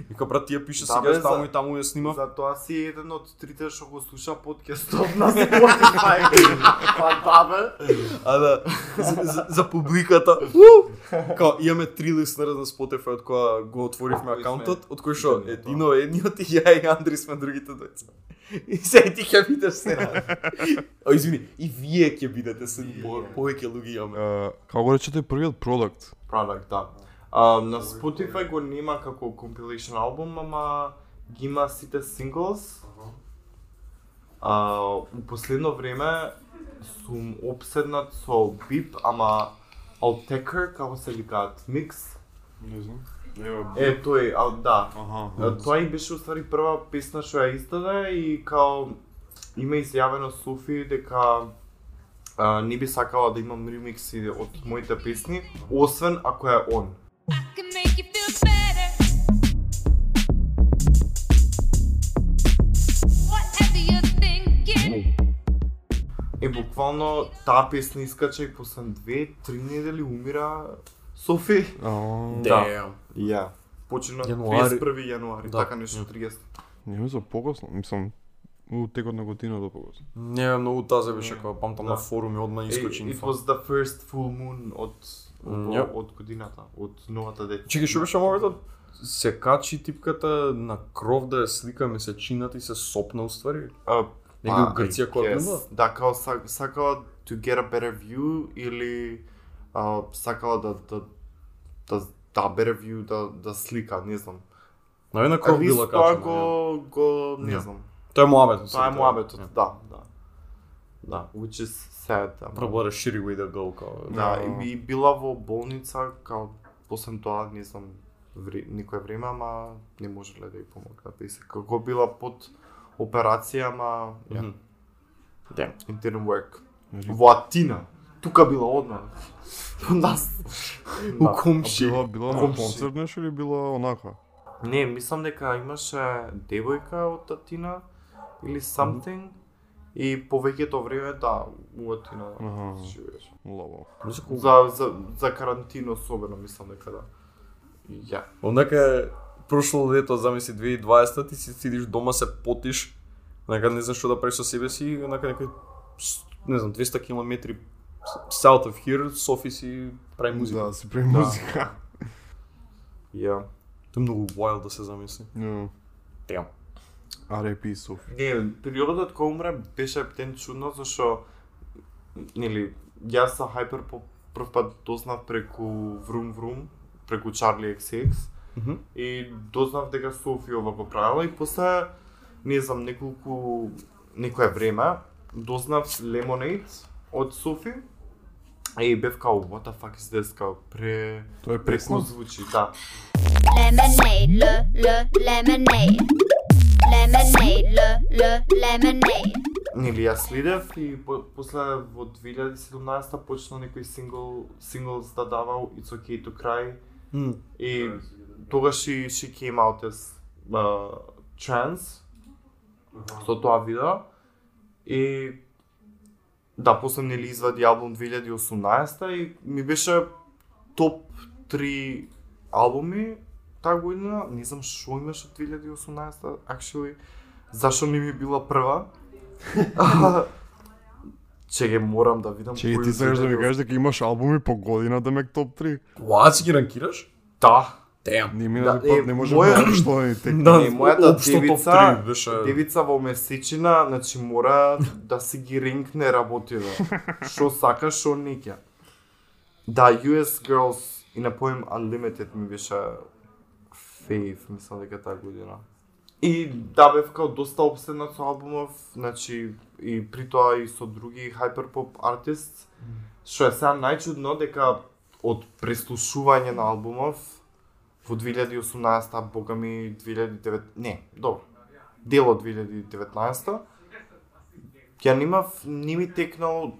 Speaker 2: Вика, брат, ти ја пише
Speaker 3: Да,
Speaker 2: сега
Speaker 3: бе,
Speaker 2: таму
Speaker 3: за-
Speaker 2: и таму ја снима.
Speaker 3: Затоа си еден од трите што го слуша подкастот на Spotify. Па да бе.
Speaker 2: А да, за, за, за публиката. уу! Као, имаме три лиснера на Spotify од која го отворивме
Speaker 3: Од кои сме
Speaker 2: акаунтот, од кој што
Speaker 3: едни, да.
Speaker 2: едино е едниот и ја и Андри сме другите двајца. И се и ти ќе бидеш се. О, извини, и вие ќе бидете се по- повеќе луѓе имаме.
Speaker 1: Е, Како го речете првиот продукт?
Speaker 3: Product, да. А, на Spotify го нема како compilation албум, ама ги има сите singles. А, у последно време сум обседнат со бип, ама Altecker, како се викаат, микс.
Speaker 1: Не знам. Ева,
Speaker 3: Е, тој, а, да.
Speaker 1: аха.
Speaker 3: А, Тоа и беше уствари прва песна што ја издаде и као има изјавено Суфи дека а, не би сакала да имам ремикси од моите песни, освен ако е он.
Speaker 4: Can make you feel better. Whatever you're thinking.
Speaker 3: Е, буквално таа песна искача и после две, три недели умира Софи.
Speaker 1: Ау,
Speaker 2: Да.
Speaker 3: Ја. Почина
Speaker 2: Јануари.
Speaker 3: 31 јануари,
Speaker 2: Да.
Speaker 3: така нешто 30.
Speaker 1: Не ми за покосно, мислам, у текот на годината покосно.
Speaker 2: Не, многу таза беше кога памтам на
Speaker 3: Да.
Speaker 2: форуми одма искочи
Speaker 3: Е, It
Speaker 2: инфа.
Speaker 3: was the first full moon од
Speaker 2: Мм,
Speaker 3: од,
Speaker 2: ја.
Speaker 3: од годината, од новата деца.
Speaker 2: Чеки, што беше мовето? Се качи типката на кров да ја слика месечината и се сопна уствари.
Speaker 3: А, па,
Speaker 2: Негде у Грција која
Speaker 3: yes.
Speaker 2: била?
Speaker 3: Да, као сак- сакала to get a better view или а, сакала да да да да better view да да слика, не знам.
Speaker 2: Нај на кров
Speaker 3: Кога
Speaker 2: била
Speaker 3: тоа
Speaker 2: качена. ја.
Speaker 3: го го не
Speaker 2: Ја.
Speaker 3: знам.
Speaker 2: Тоа е муабет.
Speaker 3: Тоа е
Speaker 2: Ја.
Speaker 3: муабетот, да, да. Да, which is sad. ама-
Speaker 2: Probably a shitty way to go, као.
Speaker 3: Да,
Speaker 1: Да.
Speaker 3: и, и била во болница, као после тоа, не знам, вре, некое време, ама не можеле да ја помогнат. И се како била под операција, ама
Speaker 2: Мгм.
Speaker 3: yeah. it didn't work.
Speaker 1: Рик.
Speaker 3: Во Атина, тука била одма. Во нас.
Speaker 2: У
Speaker 3: Да.
Speaker 1: А
Speaker 2: комши.
Speaker 1: била, била на
Speaker 2: Комши.
Speaker 1: концерт нешто или била онака?
Speaker 3: Не, мислам дека имаше девојка од Атина или something и повеќето време да у Атина
Speaker 1: Аха.
Speaker 3: живееш.
Speaker 1: Лабо.
Speaker 2: Мислам, колку-
Speaker 3: За за за карантин особено мислам дека да. Ја.
Speaker 2: Онака прошло лето, замисли 2020, ти си сидиш дома се потиш, онака не знаеш што да правиш со себе си, и онака некој с- не знам 200 километри с- south of here, Софи си прави музика.
Speaker 1: Да, си прави музика.
Speaker 3: Ја.
Speaker 2: Тоа е многу wild да се замисли.
Speaker 1: Ја. Да.
Speaker 2: Damn.
Speaker 1: R.I.P. Софи.
Speaker 3: Не, периодот кога умре беше ептен чудно, зашо, нели, јас со Hyper по прв пат дознав преку Vroom Vroom, преку Charlie XX,
Speaker 2: Мгм.
Speaker 3: и дознав дека Софи ова го правила, и после, не знам, неколку, некое време, дознав Lemonade од Софи, и бев као, what the fuck is this, као, пре...
Speaker 1: Тоа е
Speaker 3: Преку
Speaker 1: песна?
Speaker 3: звучи, да.
Speaker 5: Lemonade, le, le, lemonade. Lemonade, le, le, lemonade.
Speaker 3: Нели јас следев и по- после во 2017 почна некој сингл синглс да давал It's Okay to Cry
Speaker 2: Мм.
Speaker 3: и тогаш и she came out as uh, trans со тоа видео и да после нели извади албум 2018 и ми беше топ 3 албуми таа година, не знам што имаше од 2018 actually зашо не ми била прва Чеге, морам да видам
Speaker 1: Че
Speaker 3: кој
Speaker 1: ти
Speaker 3: од
Speaker 1: сакаш да ми
Speaker 3: 2018
Speaker 1: кажеш дека имаш албуми по година да мек топ 3.
Speaker 2: What си ги ранкираш?
Speaker 3: Да,
Speaker 2: Damn.
Speaker 1: Ни мина
Speaker 3: Да,
Speaker 1: да, пат
Speaker 3: е,
Speaker 1: не може
Speaker 3: моја-
Speaker 1: да што да ни тек.
Speaker 3: не, мојата
Speaker 2: обшто топ
Speaker 3: девица-
Speaker 2: три беше
Speaker 3: Девица во месечина, значи мора да си ги ринкне работила. Што сака, што не ќе. Да, US Girls и на поем Unlimited ми беше фейв, мислам дека таа година. И да бев као доста обседнат со албумов, значи и при тоа и со други хайперпоп артист, што е сега најчудно дека од преслушување на албумов во 2018, бога ми 2009, не, добро, дел од 2019 ја немав, не ми текнало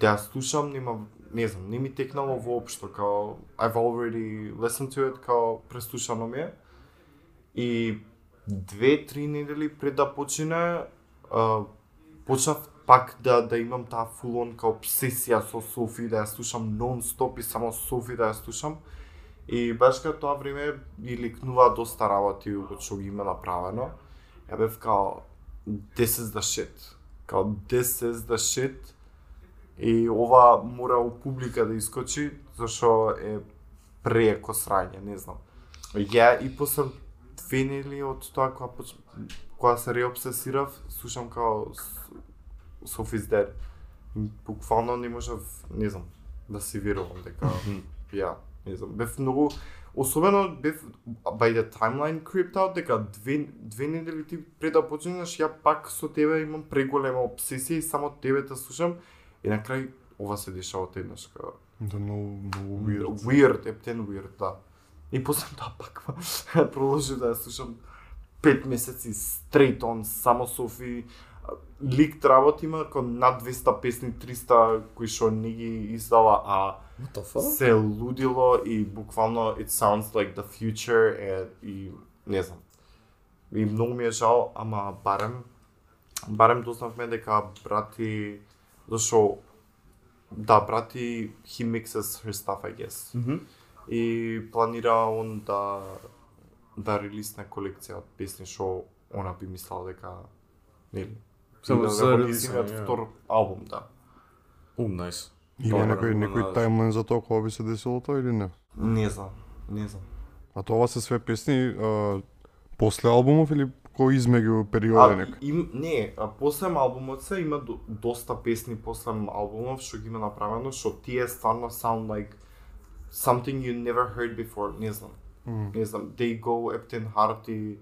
Speaker 3: да ја слушам, нема, не знам, не ми текнало воопшто, као, I've already listened to it, као, преслушано ми е. И две-три недели пред да почине, а, почнав пак да да имам таа фулон као обсесија со Софи, да ја слушам нон-стоп и само Софи да ја слушам. И баш кај тоа време и ликнува доста работи од што ги има направено. Ја бев као, this is the shit. Као, this is the shit. И ова мора у публика да искочи, зашо е преко срање, не знам. Ја и после две недели од тоа која, поч... која се реобсесирав, слушам као С- Sophie's Dead. Буквално не можев, не знам, да си верувам дека ја, не знам, бев многу особено бев by the timeline creeped out дека две две недели ти пред да почнеш ја пак со тебе имам преголема обсесија и само тебе те слушам и на крај ова се дешава од еднаш као
Speaker 1: Да, многу, многу weird.
Speaker 3: weird, ептен weird, да. И после тоа пак продолжив да ја слушам пет месеци straight on, само Софи. Лик работи има кон над 200 песни, 300 кои што не ги издава, а
Speaker 2: What the fuck?
Speaker 3: се лудило и буквално it sounds like the future е, и не знам. И многу ми е жал, ама барем барем дознавме дека брати зашо да брати he mixes her stuff I guess. Mm -hmm. И планира он да да релисне колекција од песни што она би мислала дека нели
Speaker 2: Само
Speaker 3: да
Speaker 2: за
Speaker 3: работи
Speaker 2: релисна,
Speaker 3: сингот
Speaker 2: ја.
Speaker 3: втор албум, да.
Speaker 2: Ум, најс.
Speaker 1: Има
Speaker 2: Добра,
Speaker 1: некој,
Speaker 2: добра
Speaker 1: некој
Speaker 2: најас.
Speaker 1: таймлайн за тоа кога би се десило тоа или не?
Speaker 3: Не знам, не знам.
Speaker 1: А тоа се све песни а, после албумов или кој измеѓу периода
Speaker 3: А,
Speaker 1: нека?
Speaker 3: им, не, а, послем албумот се има до, доста песни послем албумов што ги има направено, што тие стварно sound like something you never heard before, не знам. Mm. Не знам, They Go, Epton Heart и...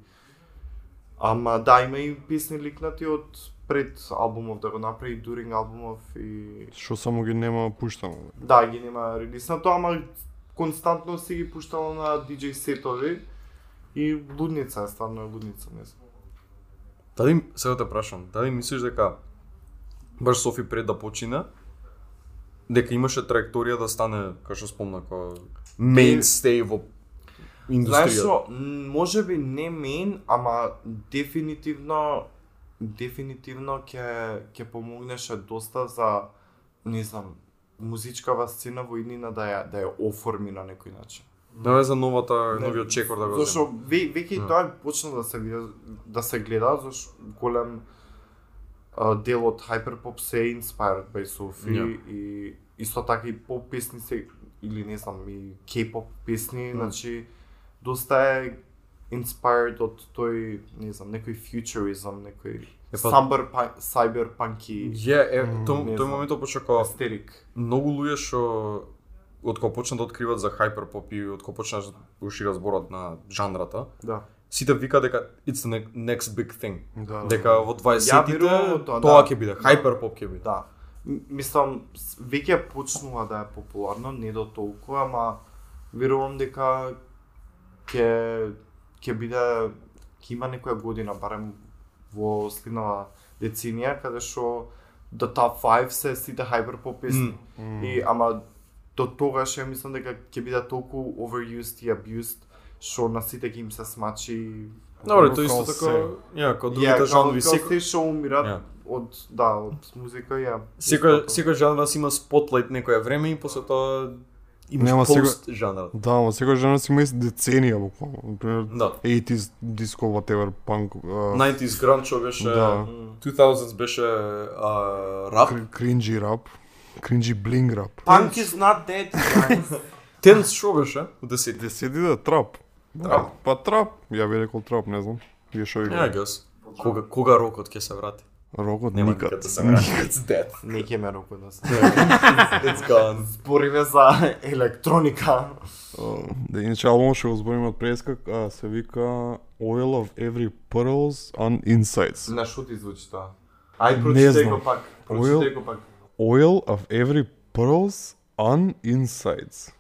Speaker 3: Ама да, има и песни ликнати од пред албумов да го направи, during албумов и...
Speaker 1: Што само ги нема пуштано.
Speaker 3: Да, ги нема релиснато, ама константно се ги пуштало на DJ сетови и лудница е, стварно е лудница, не знам.
Speaker 2: Дали, сега те прашам, дали мислиш дека баш Софи пред да почина, дека имаше траекторија да стане, како што спомна, како мейнстей во
Speaker 3: Знаеш
Speaker 2: индустријата?
Speaker 3: што, м, може би не мен, ама дефинитивно дефинитивно ќе ќе помогнеше доста за не знам, музичкава сцена во иднина да ја да ја оформи на некој начин.
Speaker 2: Наве за новата, новиот чекор да го
Speaker 3: Зашо
Speaker 2: взема.
Speaker 3: ве, веќе и тоа почна да се види, да се гледа, зашо голем а, дел од Hyperpop се е inspired by Sophie
Speaker 2: Ја.
Speaker 3: и исто така и поп песни се или не знам, и K-pop песни, значи доста е inspired од тој, не знам, некој futurism, некој па,
Speaker 2: Епа-
Speaker 3: cyber cyberpunky
Speaker 2: па- Ја, е, тој,
Speaker 3: не
Speaker 2: тој
Speaker 3: знам.
Speaker 2: момент почна како
Speaker 3: естерик.
Speaker 2: многу луѓе што од кога почна да откриват за хайперпоп и од кога почна да шира зборот на жанрата,
Speaker 3: Да.
Speaker 2: сите вика дека it's the ne- next big thing.
Speaker 1: Да.
Speaker 2: Дека во 20-тите
Speaker 3: верувам во тоа,
Speaker 2: тоа
Speaker 3: да.
Speaker 2: ќе биде, хайперпоп ќе биде.
Speaker 3: Да. М- Мислам, с- веќе почнува да е популарно, не до толкова, ама верувам дека ќе ќе биде ќе има некоја година барем во следнава деценија каде што до top 5 се сите hyperpop песни. Mm. И ама до тогаш ја мислам дека ќе биде толку overused и abused што на сите ќе им се смачи
Speaker 2: Добре, тоа исто
Speaker 1: Као
Speaker 2: така, ја, како
Speaker 3: Ја,
Speaker 2: другите жанри,
Speaker 3: како
Speaker 2: секој
Speaker 3: се што умират
Speaker 2: Ја.
Speaker 3: од да, од музика ја
Speaker 2: секој
Speaker 1: така.
Speaker 2: секој жанр си има спотлайт некое време и после тоа
Speaker 1: Нема
Speaker 2: имаш
Speaker 1: сега-
Speaker 2: пост жанр.
Speaker 1: Да, ама секој жанр си има и деценија буквално. Например,
Speaker 2: Да.
Speaker 1: 80s disco whatever punk а,
Speaker 2: 90s гранчо беше,
Speaker 1: Да.
Speaker 2: 2000s беше а, рап.
Speaker 1: кр- кринджи рап, кринджи блинг рап.
Speaker 3: Punk is not dead, guys.
Speaker 2: Тенс шо беше? У 10
Speaker 1: Седи да трап. Трап. Па трап, ја би рекол трап, не знам. Вие шо ви
Speaker 2: Ја, гас. Кога, кога рокот ќе се врати?
Speaker 1: Рокот
Speaker 2: Нема
Speaker 1: никад.
Speaker 2: никад да се врати. It's dead.
Speaker 3: Не ќе ме рокот да се.
Speaker 2: It's gone.
Speaker 3: Спориме за електроника.
Speaker 1: А, Да, иначе албумот што го збориме од прескак, а, се вика Oil of Every Pearls and Insights.
Speaker 3: На што ти звучи тоа? Ај
Speaker 1: Не
Speaker 3: прочитај
Speaker 1: знам.
Speaker 3: го пак.
Speaker 1: Oil-
Speaker 3: Прочитај го пак.
Speaker 1: Oil of Every Pearls and Insights.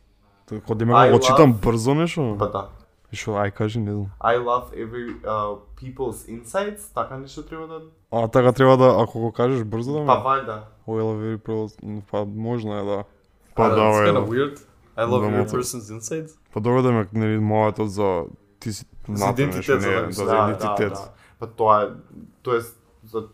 Speaker 1: Тоа Кога ме
Speaker 3: I
Speaker 1: го
Speaker 3: love-
Speaker 1: очитам брзо нешто?
Speaker 3: Па да.
Speaker 1: Што ај кажи, не знам.
Speaker 3: I love every uh, people's insights, така нешто треба да...
Speaker 1: А така треба да ако го кажеш брзо да ме.
Speaker 3: Па вајда.
Speaker 1: Oil of Every Pearls, па можна е да.
Speaker 2: Uh,
Speaker 1: Па да,
Speaker 2: It's
Speaker 1: е,
Speaker 2: kind
Speaker 1: да.
Speaker 2: of weird. I love
Speaker 1: Да,
Speaker 2: your
Speaker 1: да.
Speaker 2: person's inside.
Speaker 1: Па добро да ме нели моето за ти си натаму,
Speaker 2: идентитет,
Speaker 1: нешто,
Speaker 2: за
Speaker 1: не,
Speaker 2: да
Speaker 1: да,
Speaker 2: ми
Speaker 1: за
Speaker 2: се-
Speaker 1: идентитет.
Speaker 3: да. Па тоа е... Тоа е за...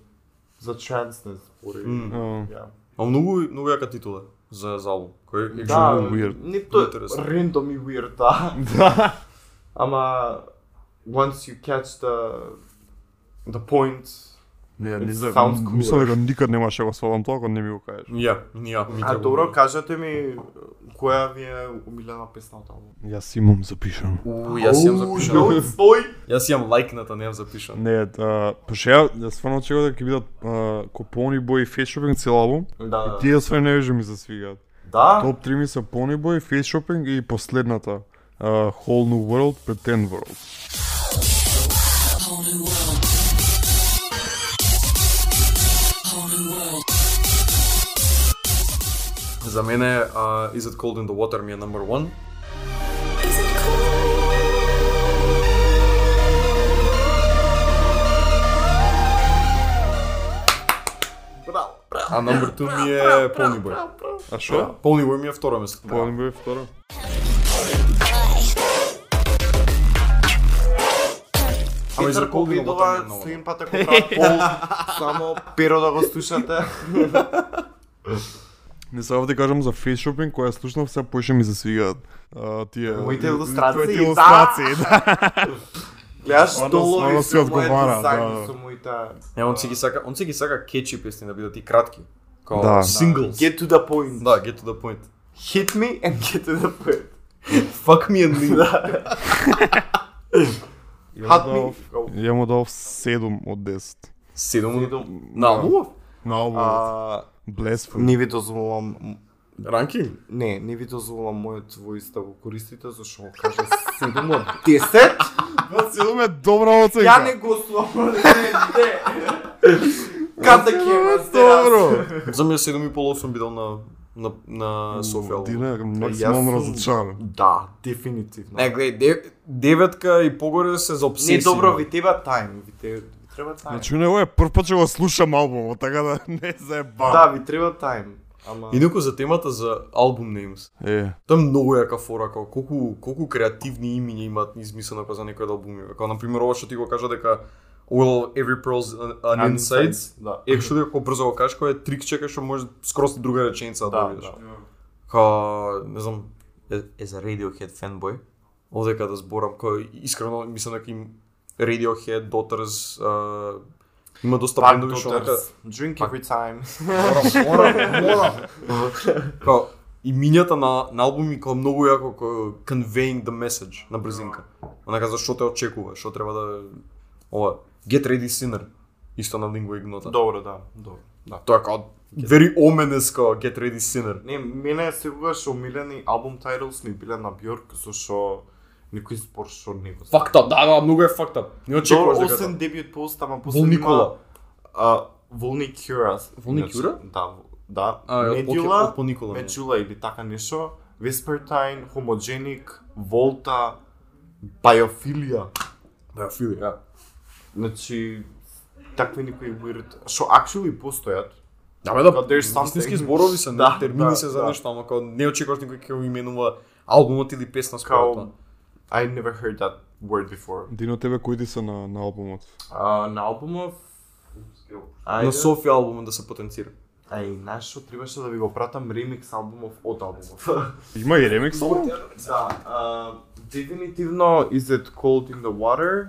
Speaker 3: За транс не спори.
Speaker 1: А,
Speaker 3: Ја.
Speaker 2: А многу многу јака титула за за албум. Кој е
Speaker 3: Да,
Speaker 1: Actually, weird.
Speaker 3: не тоа
Speaker 2: Интересно.
Speaker 3: рендом и weird, да. Ама once you catch the the point,
Speaker 1: Не,
Speaker 3: It
Speaker 1: не знам.
Speaker 3: sounds cool.
Speaker 1: Мислам дека никад немаше да го свалам тоа ако не ми го кажеш.
Speaker 2: Ја, ја, ми
Speaker 3: А добро, кажете ми која ви е умилена песна од албумот?
Speaker 1: Јас имам запишано.
Speaker 2: У, јас имам запишан.
Speaker 3: Стој.
Speaker 2: Јас имам лайкната, не имам запишан.
Speaker 1: Не, а, пошто ја, ја стварно очекував дека ќе бидат а, Копони Бој и Фейс Шопинг цел албум.
Speaker 3: Да.
Speaker 1: Тие све не вижу ми се свигаат.
Speaker 3: Да.
Speaker 1: Топ 3 ми се Пони Бој, Фейс Шопинг и последната. а, Whole New World, Pretend World.
Speaker 2: За мене а, Is it cold in the water ми е number one.
Speaker 4: Is it cool?
Speaker 2: А number 2 ми е Ponyboy.
Speaker 1: А шо?
Speaker 2: Ponyboy ми е второ место.
Speaker 1: Тоа не бе второ.
Speaker 2: Ама и за
Speaker 3: Питер
Speaker 2: Ponyboy тоа ми е
Speaker 3: Ковидова,
Speaker 2: ново.
Speaker 3: следен пат ако прават пол, само перо да го слушате.
Speaker 1: Не сега да кажам за фейс шопинг, која слушнав, сега поише ми засвигаат. А, тие...
Speaker 3: Моите
Speaker 1: Твоите
Speaker 3: илустрации,
Speaker 1: илустрации, да.
Speaker 3: Гледаш
Speaker 1: Оно-
Speaker 3: долови
Speaker 1: оно си
Speaker 3: се
Speaker 1: одговара,
Speaker 3: моите
Speaker 1: да, да.
Speaker 3: загни со моите...
Speaker 2: Не, он си ги сака, он си ги сака кечи песни да бидат и кратки. Као
Speaker 1: Да.
Speaker 2: singles.
Speaker 3: Get to the point.
Speaker 2: Да, get to the point.
Speaker 3: Hit me and get to the point.
Speaker 2: Fuck me and me.
Speaker 3: Hat me.
Speaker 1: да. Ја му дал 7 од 10.
Speaker 2: Седом.
Speaker 3: Идом.
Speaker 2: На лув.
Speaker 1: На албумот.
Speaker 3: А,
Speaker 1: Блесфул.
Speaker 3: Не ви дозволам...
Speaker 2: Ранкинг.
Speaker 3: Не, не ви дозволам мојот воис да го користите, зашто го кажа 7 од 10.
Speaker 1: 7 е добра оценка.
Speaker 3: Ја не го сломам. Не, не. Ката ќе ме стерам.
Speaker 1: Добро.
Speaker 2: За мене 7 и пол 8 би дал на на на София.
Speaker 1: Ти
Speaker 2: албум.
Speaker 1: не,
Speaker 3: Јас
Speaker 1: максимално
Speaker 3: сум-
Speaker 1: разочаран.
Speaker 3: Да, дефинитивно.
Speaker 2: Не, гледај, дев- деветка и погоре се за обсесија.
Speaker 3: Не, добро, ви треба тајм, ви те- ви треба тајм.
Speaker 1: Значи, не, е прв пат ќе го слушам албумот, така да не заебам.
Speaker 3: Да, ви треба тајм. Ама
Speaker 1: да
Speaker 2: Инаку за темата за албум names.
Speaker 3: Да.
Speaker 1: Е,
Speaker 2: Тоа е многу јака фора, како колку колку креативни имиња имаат измислено како па за некои од албумите. Како на пример ова што ти го кажа дека Well, every pearl's an, an
Speaker 3: An
Speaker 2: inside.
Speaker 3: insides, да.
Speaker 2: Actually, ако брзо го кажеш, кој е трик чека што може скрос друга реченица да,
Speaker 3: Да,
Speaker 2: добиеш. Ка, не знам, е- е за Radiohead фенбој. Одека да зборам, кој искрено мислам дека им Radiohead, Daughters, а, има доста
Speaker 3: Пак
Speaker 2: бендови што нека
Speaker 3: Daughters, Drink every time.
Speaker 2: морам, морам, морам. Као, и мињата на, на албуми као многу јако као conveying the message на брзинка. Онака за што те очекува, што треба да ова get ready sinner исто на лингва игнота.
Speaker 3: Добро, да, добро. Да.
Speaker 2: Тоа е као very ominous као get ready sinner.
Speaker 3: Не, мене секогаш омилени албум titles ми биле на Бьорк, зашо некој спор што не го
Speaker 2: Fucked up, да, да, многу е fucked up. Не очекуваш да
Speaker 3: Добро,
Speaker 2: дека
Speaker 3: осен
Speaker 2: тоа.
Speaker 3: дебют пост, ама после
Speaker 2: Вол Никола.
Speaker 3: А, Волни Кюра.
Speaker 2: Волни
Speaker 3: Значи,
Speaker 2: Кюра?
Speaker 3: Да, в- да.
Speaker 2: А, од Поке-
Speaker 3: Медюла,
Speaker 2: од Поникола, да.
Speaker 3: Медюла или така нешто. Веспертайн, Хомогеник, Волта, Биофилија.
Speaker 2: Да, фили, да.
Speaker 3: Значи, такви некои weird, што actually постојат.
Speaker 2: Да, бе, да,
Speaker 3: But there's something.
Speaker 2: истински зборови се, да,
Speaker 3: Да,
Speaker 2: термини
Speaker 3: да,
Speaker 2: се за
Speaker 3: да.
Speaker 2: нешто, ама као не очекуваш никој ќе го именува албумот или песна според
Speaker 3: Као,
Speaker 2: тоа.
Speaker 3: I never heard that word before.
Speaker 1: Дин од тебе кои ти се на, на албумот?
Speaker 3: А, на албумов...
Speaker 2: На Софи албумот да се потенцира.
Speaker 3: Ај, знаеш што требаше да ви го пратам ремикс албумов од албумов.
Speaker 1: Има и ремикс албум?
Speaker 3: да, а, дефинитивно Is It Cold in the Water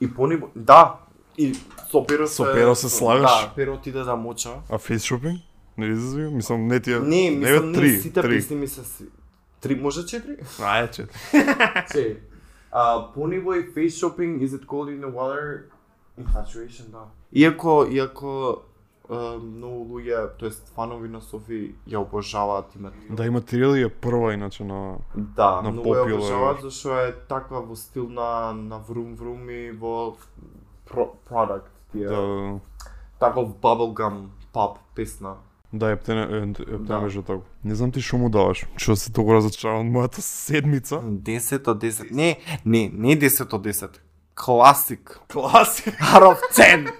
Speaker 3: и пони... Да, и со перо се...
Speaker 1: Со перо се слагаш?
Speaker 3: Да, перо отиде да моча.
Speaker 1: А фейс шопинг? Не ли зазви? Мислам, не ти е...
Speaker 3: Не, мислам, не,
Speaker 1: три,
Speaker 3: сите
Speaker 1: три.
Speaker 3: песни ми се... сви- Три, може четири?
Speaker 1: Ајде, че.
Speaker 3: Се. А, Ponyboy, Face Shopping, Is It Cold in the Water, Infatuation, да. Иако, иако а, многу луѓе, тоест фанови на Софи ја обожаваат името.
Speaker 1: Да, има три е прва, иначе на...
Speaker 3: Да,
Speaker 1: на
Speaker 3: многу ја
Speaker 1: попила,
Speaker 3: обожаваат
Speaker 1: е.
Speaker 3: зашто е таква во стил на на врум врум и во про, product тие. Да.
Speaker 1: Да,
Speaker 3: Таков bubblegum pop песна.
Speaker 1: да, ептене, е, ептене
Speaker 3: Да.
Speaker 1: беше тако. Не знам ти што му даваш. Што си толку разочаран од мојата седмица?
Speaker 3: 10 од 10. Не, не, не 10 од 10. Класик.
Speaker 1: Класик.
Speaker 3: Out of 10.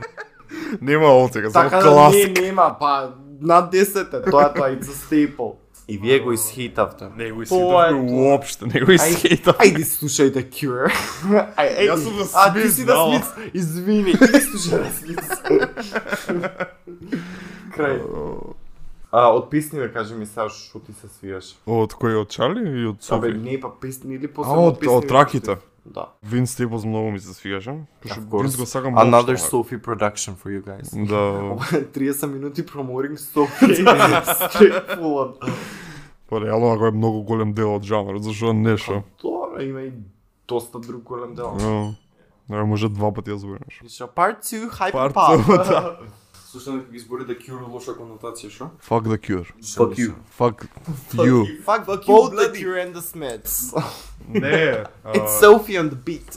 Speaker 1: Нема оцека, само
Speaker 3: Така да
Speaker 1: класик.
Speaker 3: не нема, па над 10 е, тоа е тоа it's a staple. И вие го исхейтавте.
Speaker 1: Не го
Speaker 3: Тоа е
Speaker 1: исхейтавме
Speaker 3: тоа.
Speaker 1: уопште, не го исхейтавме.
Speaker 3: Ајде да слушај The Cure. Ај, ајде.
Speaker 1: Јас сум да
Speaker 3: А ти
Speaker 1: Смит
Speaker 3: си да
Speaker 1: знала.
Speaker 3: Смит. Извини, ти слушај да Смит. Крај. А, од песни да кажи ми сега што ти се свиеш.
Speaker 1: Од кој од Чарли или од
Speaker 3: Абе,
Speaker 1: Софи?
Speaker 3: не, па песни или
Speaker 1: А,
Speaker 3: после
Speaker 1: од, од раките.
Speaker 3: Да.
Speaker 1: Вин Стеблс многу ми се свигаше. Пошто
Speaker 3: Of course.
Speaker 1: Винс го сакам
Speaker 3: Another
Speaker 1: воопшто, онака.
Speaker 3: Sophie production for you guys.
Speaker 1: Да,
Speaker 3: 30 минути проморинг Софи. Straight full on.
Speaker 1: па реално ако е многу голем дел од жанрот, да зашо нешто.
Speaker 3: Тоа има и доста друг голем дел.
Speaker 1: Е, Не може два пати да ја зборуваш.
Speaker 3: Пиша Part 2 Hype
Speaker 1: Part да.
Speaker 3: Pop.
Speaker 2: Слушам дека ги збори да Cure лоша конотација, што?
Speaker 1: Fuck the cure.
Speaker 2: Fuck you.
Speaker 1: Fuck you.
Speaker 3: Fuck, both the Cure and the Smiths.
Speaker 1: Не,
Speaker 3: It's Sophie on the beat.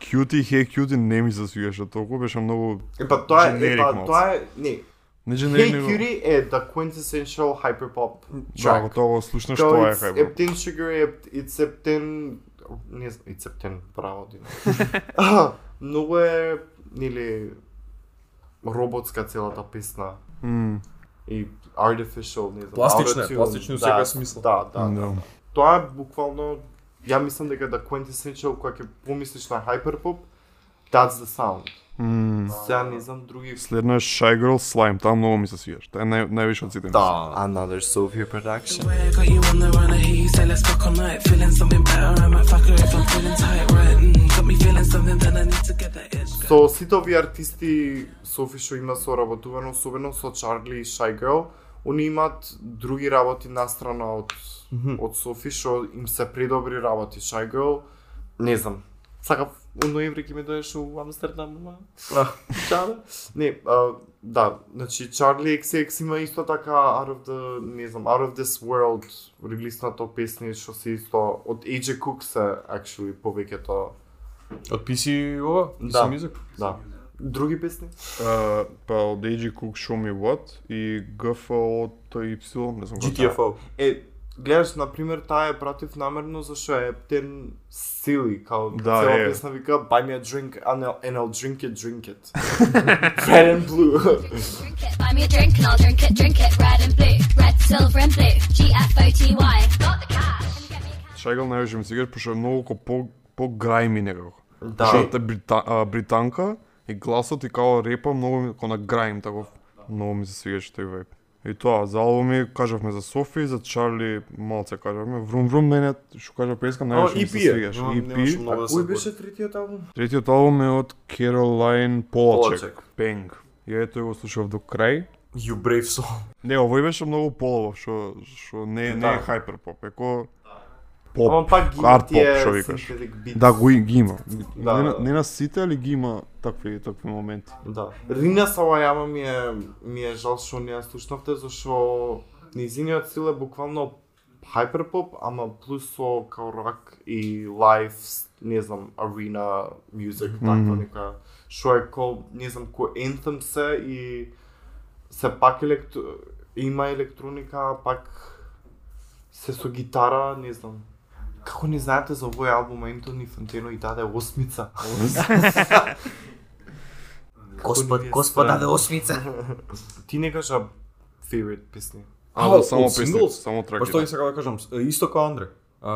Speaker 1: Cutie, Hey Cutie не ми се свигаше толку, беше многу...
Speaker 3: Епа тоа е,
Speaker 1: Generic
Speaker 3: епа
Speaker 1: малце.
Speaker 3: тоа е, не.
Speaker 1: Не
Speaker 3: Hey
Speaker 1: generic, него...
Speaker 3: Cutie е the quintessential hyperpop
Speaker 1: Да, ако
Speaker 3: track.
Speaker 1: тоа го слушнеш,
Speaker 3: Као
Speaker 1: тоа е
Speaker 3: it's
Speaker 1: хайбо.
Speaker 3: Eptin Sugar, Ep- it's Eptin... Не знам, it's Eptin, браво ти. Многу е, нели, роботска целата песна.
Speaker 1: М,
Speaker 3: и artificial, не знам,
Speaker 2: Пластична е,
Speaker 3: autotune,
Speaker 2: пластична во
Speaker 3: да,
Speaker 2: секој смисла.
Speaker 3: Да, да.
Speaker 1: Да.
Speaker 3: Тоа е буквално ја мислам дека да Quentin Snitchell кога ќе помислиш на hyperpop, that's the sound.
Speaker 1: М,
Speaker 3: Сега не знам други
Speaker 1: Следно е Shy Girl Slime, таа многу ми се свиеш. Таа е нај, највише од сите.
Speaker 3: Да. Another Sophia production.
Speaker 8: Got you on the run, I hear you say let's fuck all night. Feeling something better, I might fuck her if I'm feeling tight, right? Mm, got me feeling something, then I need to get that itch.
Speaker 3: Со сите овие артисти Софи што има соработувано, особено со Чарли и Shy Girl, они имаат други работи настрана од од Софи што им се предобри работи Shy Girl. Не знам. Сакав у ноември ќе ми доеш у Амстердам, ама. Чарли. Не, а, да, значи Чарли XX има исто така Out of the, не знам, Out of this World релиснато песни што се исто од AJ Cook се actually повеќето.
Speaker 2: Од PC ова? PC
Speaker 3: Да.
Speaker 2: Music?
Speaker 3: Да. Други песни?
Speaker 1: А, па од AJ Cook Show Me What и GFO Y, не знам како.
Speaker 2: GTFO.
Speaker 3: Е, гледаш, например, таа ја пратив намерно, зашто е терн сили, као
Speaker 1: Да,
Speaker 3: цела
Speaker 1: е.
Speaker 3: песна вика Buy me a drink and I'll, and I'll drink it, drink it. Red and blue.
Speaker 5: Drink it, buy me a drink and I'll drink it, drink it. Red and blue, red, silver and blue. G F O T Y. Got the cash.
Speaker 1: Shy
Speaker 5: Can you get me a cash?
Speaker 1: Girl највише ми се свиеш, пошто е многу ко- по по грајми некако.
Speaker 3: да.
Speaker 1: Шата брита, а, британка и гласот и као репа многу ми ко на грајм таков. Многу ми се свиеш тој вајб. И тоа, за албуми кажавме за Софи, за Чарли малце кажавме, Врум Врум мене, што кажа песка, највише
Speaker 3: E
Speaker 1: ми се E
Speaker 2: EP е.
Speaker 1: свиеш.
Speaker 2: Нема- немаше
Speaker 1: EP.
Speaker 2: многу да се
Speaker 3: Кој
Speaker 2: збори.
Speaker 3: беше третиот албум?
Speaker 1: Третиот албум е од Caroline Polachek,
Speaker 2: Polachek.
Speaker 1: Bang. Ја ето го слушав до крај.
Speaker 2: You Brave Soul.
Speaker 1: Не, овој беше многу полово, што што не не е
Speaker 3: Да.
Speaker 1: хайперпоп, еко
Speaker 3: Ама
Speaker 1: поп,
Speaker 3: пак ги има
Speaker 1: арт поп,
Speaker 3: тие
Speaker 1: што викаш.
Speaker 3: synthetic beats.
Speaker 1: Да, го и- ги има. Да,
Speaker 3: Да,
Speaker 1: не, на-
Speaker 3: да.
Speaker 1: не на сите, али ги има такви такви моменти.
Speaker 3: Да. Рина Савајама ми е ми е жал што не ја слушнавте зашо низиниот стил е буквално хайперпоп, ама плюс со као рак и лайф, не знам, арена мюзик, таква нека што е ко, не знам, ко ентем се и се пак електро... има електроника, а пак се со гитара, не знам. Како не знаете за овој албум Ентони Фонтено и даде осмица? Господ, Господ даде осмица. Ти не кажа favorite песни.
Speaker 1: А,
Speaker 2: А,
Speaker 1: да, само
Speaker 2: од
Speaker 1: песни,
Speaker 2: singles?
Speaker 1: само
Speaker 2: Па што
Speaker 1: траки.
Speaker 2: ги сакам да кажам, е, исто како Андре. А,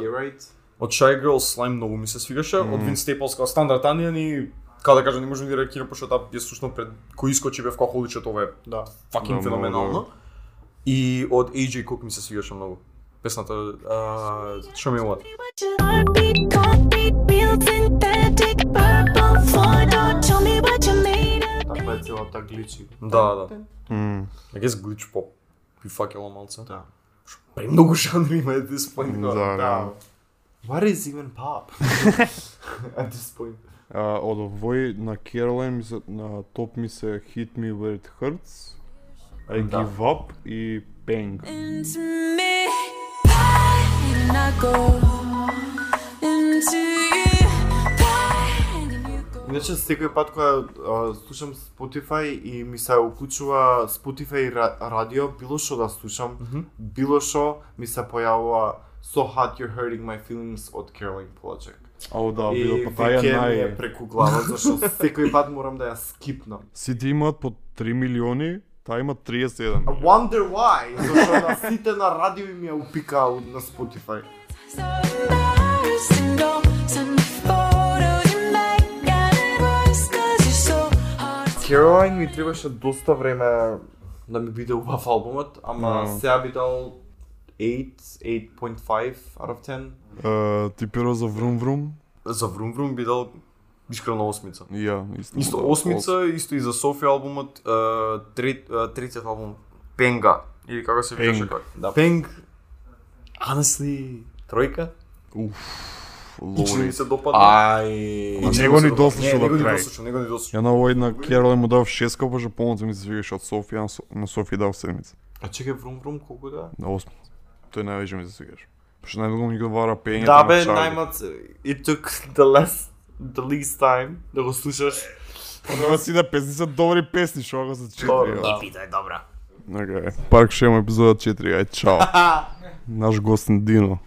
Speaker 3: You're right.
Speaker 2: од Shy Girl Slime многу ми се свигаше, од Vince Staples како стандард Anion и како да кажам, не можам да реагирам пошто таа ја слушнав пред кој искочи бев како холичот ова е
Speaker 1: Да,
Speaker 3: Да.
Speaker 2: fucking
Speaker 1: многу,
Speaker 2: феноменално. И од AJ Cook ми се свигаше многу. Песната а, Show Me What.
Speaker 3: Таква така е целата гличи.
Speaker 2: Да, да. I guess glitch pop. И факела малце.
Speaker 3: Да.
Speaker 2: Премногу жанри има at this point.
Speaker 1: Да, да.
Speaker 3: What is even pop? At this point.
Speaker 1: А, од овој на Caroline ми се на топ ми се Hit Me Where It Hurts, I
Speaker 3: да.
Speaker 1: Give Up и Bang.
Speaker 9: into me. Why I go into you? Why you go?
Speaker 3: Иначе секој пат кога а, слушам Spotify и ми се уклучува Spotify ра- радио, било што да слушам, било што ми се појавува So Hot You're Hurting My Feelings од Caroline Polachek.
Speaker 1: Ау да,
Speaker 3: И
Speaker 1: било па
Speaker 3: веќе
Speaker 1: таја
Speaker 3: ми
Speaker 1: нај
Speaker 3: е преку глава, зашто секој пат морам да ја скипнам.
Speaker 1: Сите имаат по 3 милиони, таа има 31.
Speaker 3: I wonder why, зашто на сите на радио ми ја упикаа на Spotify.
Speaker 9: So embarrassing, go send the photos you make and voice 'cause you're so hard.
Speaker 3: Caroline ми требаше доста време да ми биде убав албумот, ама
Speaker 1: Да.
Speaker 3: сега би дал 8, 8.5 out of 10.
Speaker 1: Е, Ти перо за Врум Врум?
Speaker 2: За Врум Врум би дал искрено осмица.
Speaker 1: Ја, исто. да,
Speaker 2: Исто осмица, исто и за Софија албумот, а, трет- а, третиот албум Пенга или како се викаше
Speaker 1: Пенг.
Speaker 2: кој? Да. Пенг. Honestly, тројка. Личи ми
Speaker 1: Лори.
Speaker 2: се допадна.
Speaker 3: Ај.
Speaker 1: Ма
Speaker 2: Лично
Speaker 1: него
Speaker 2: ми се
Speaker 1: ни
Speaker 2: допадна.
Speaker 1: дослушал
Speaker 2: Не,
Speaker 1: до
Speaker 2: него ни
Speaker 1: крај.
Speaker 2: дослушал, него ни дослушал.
Speaker 1: Ја на овој на Caroline му дав 6 пошто полното ми се свигаше од Софија, на Со- на Софија дав 7.
Speaker 3: А чекај, врум врум колку да?
Speaker 1: На 8. Тој највеќе ми се свигаше. Пошто најмногу ми го вара пењето
Speaker 3: Да
Speaker 1: на
Speaker 3: бе,
Speaker 1: Чарли.
Speaker 3: најмат it took the less the least time да го слушаш.
Speaker 1: Ова си да песни се добри песни, што го се четири.
Speaker 3: да.
Speaker 1: Океј. Парк шема епизода 4. Ај чао. Наш гост Дино.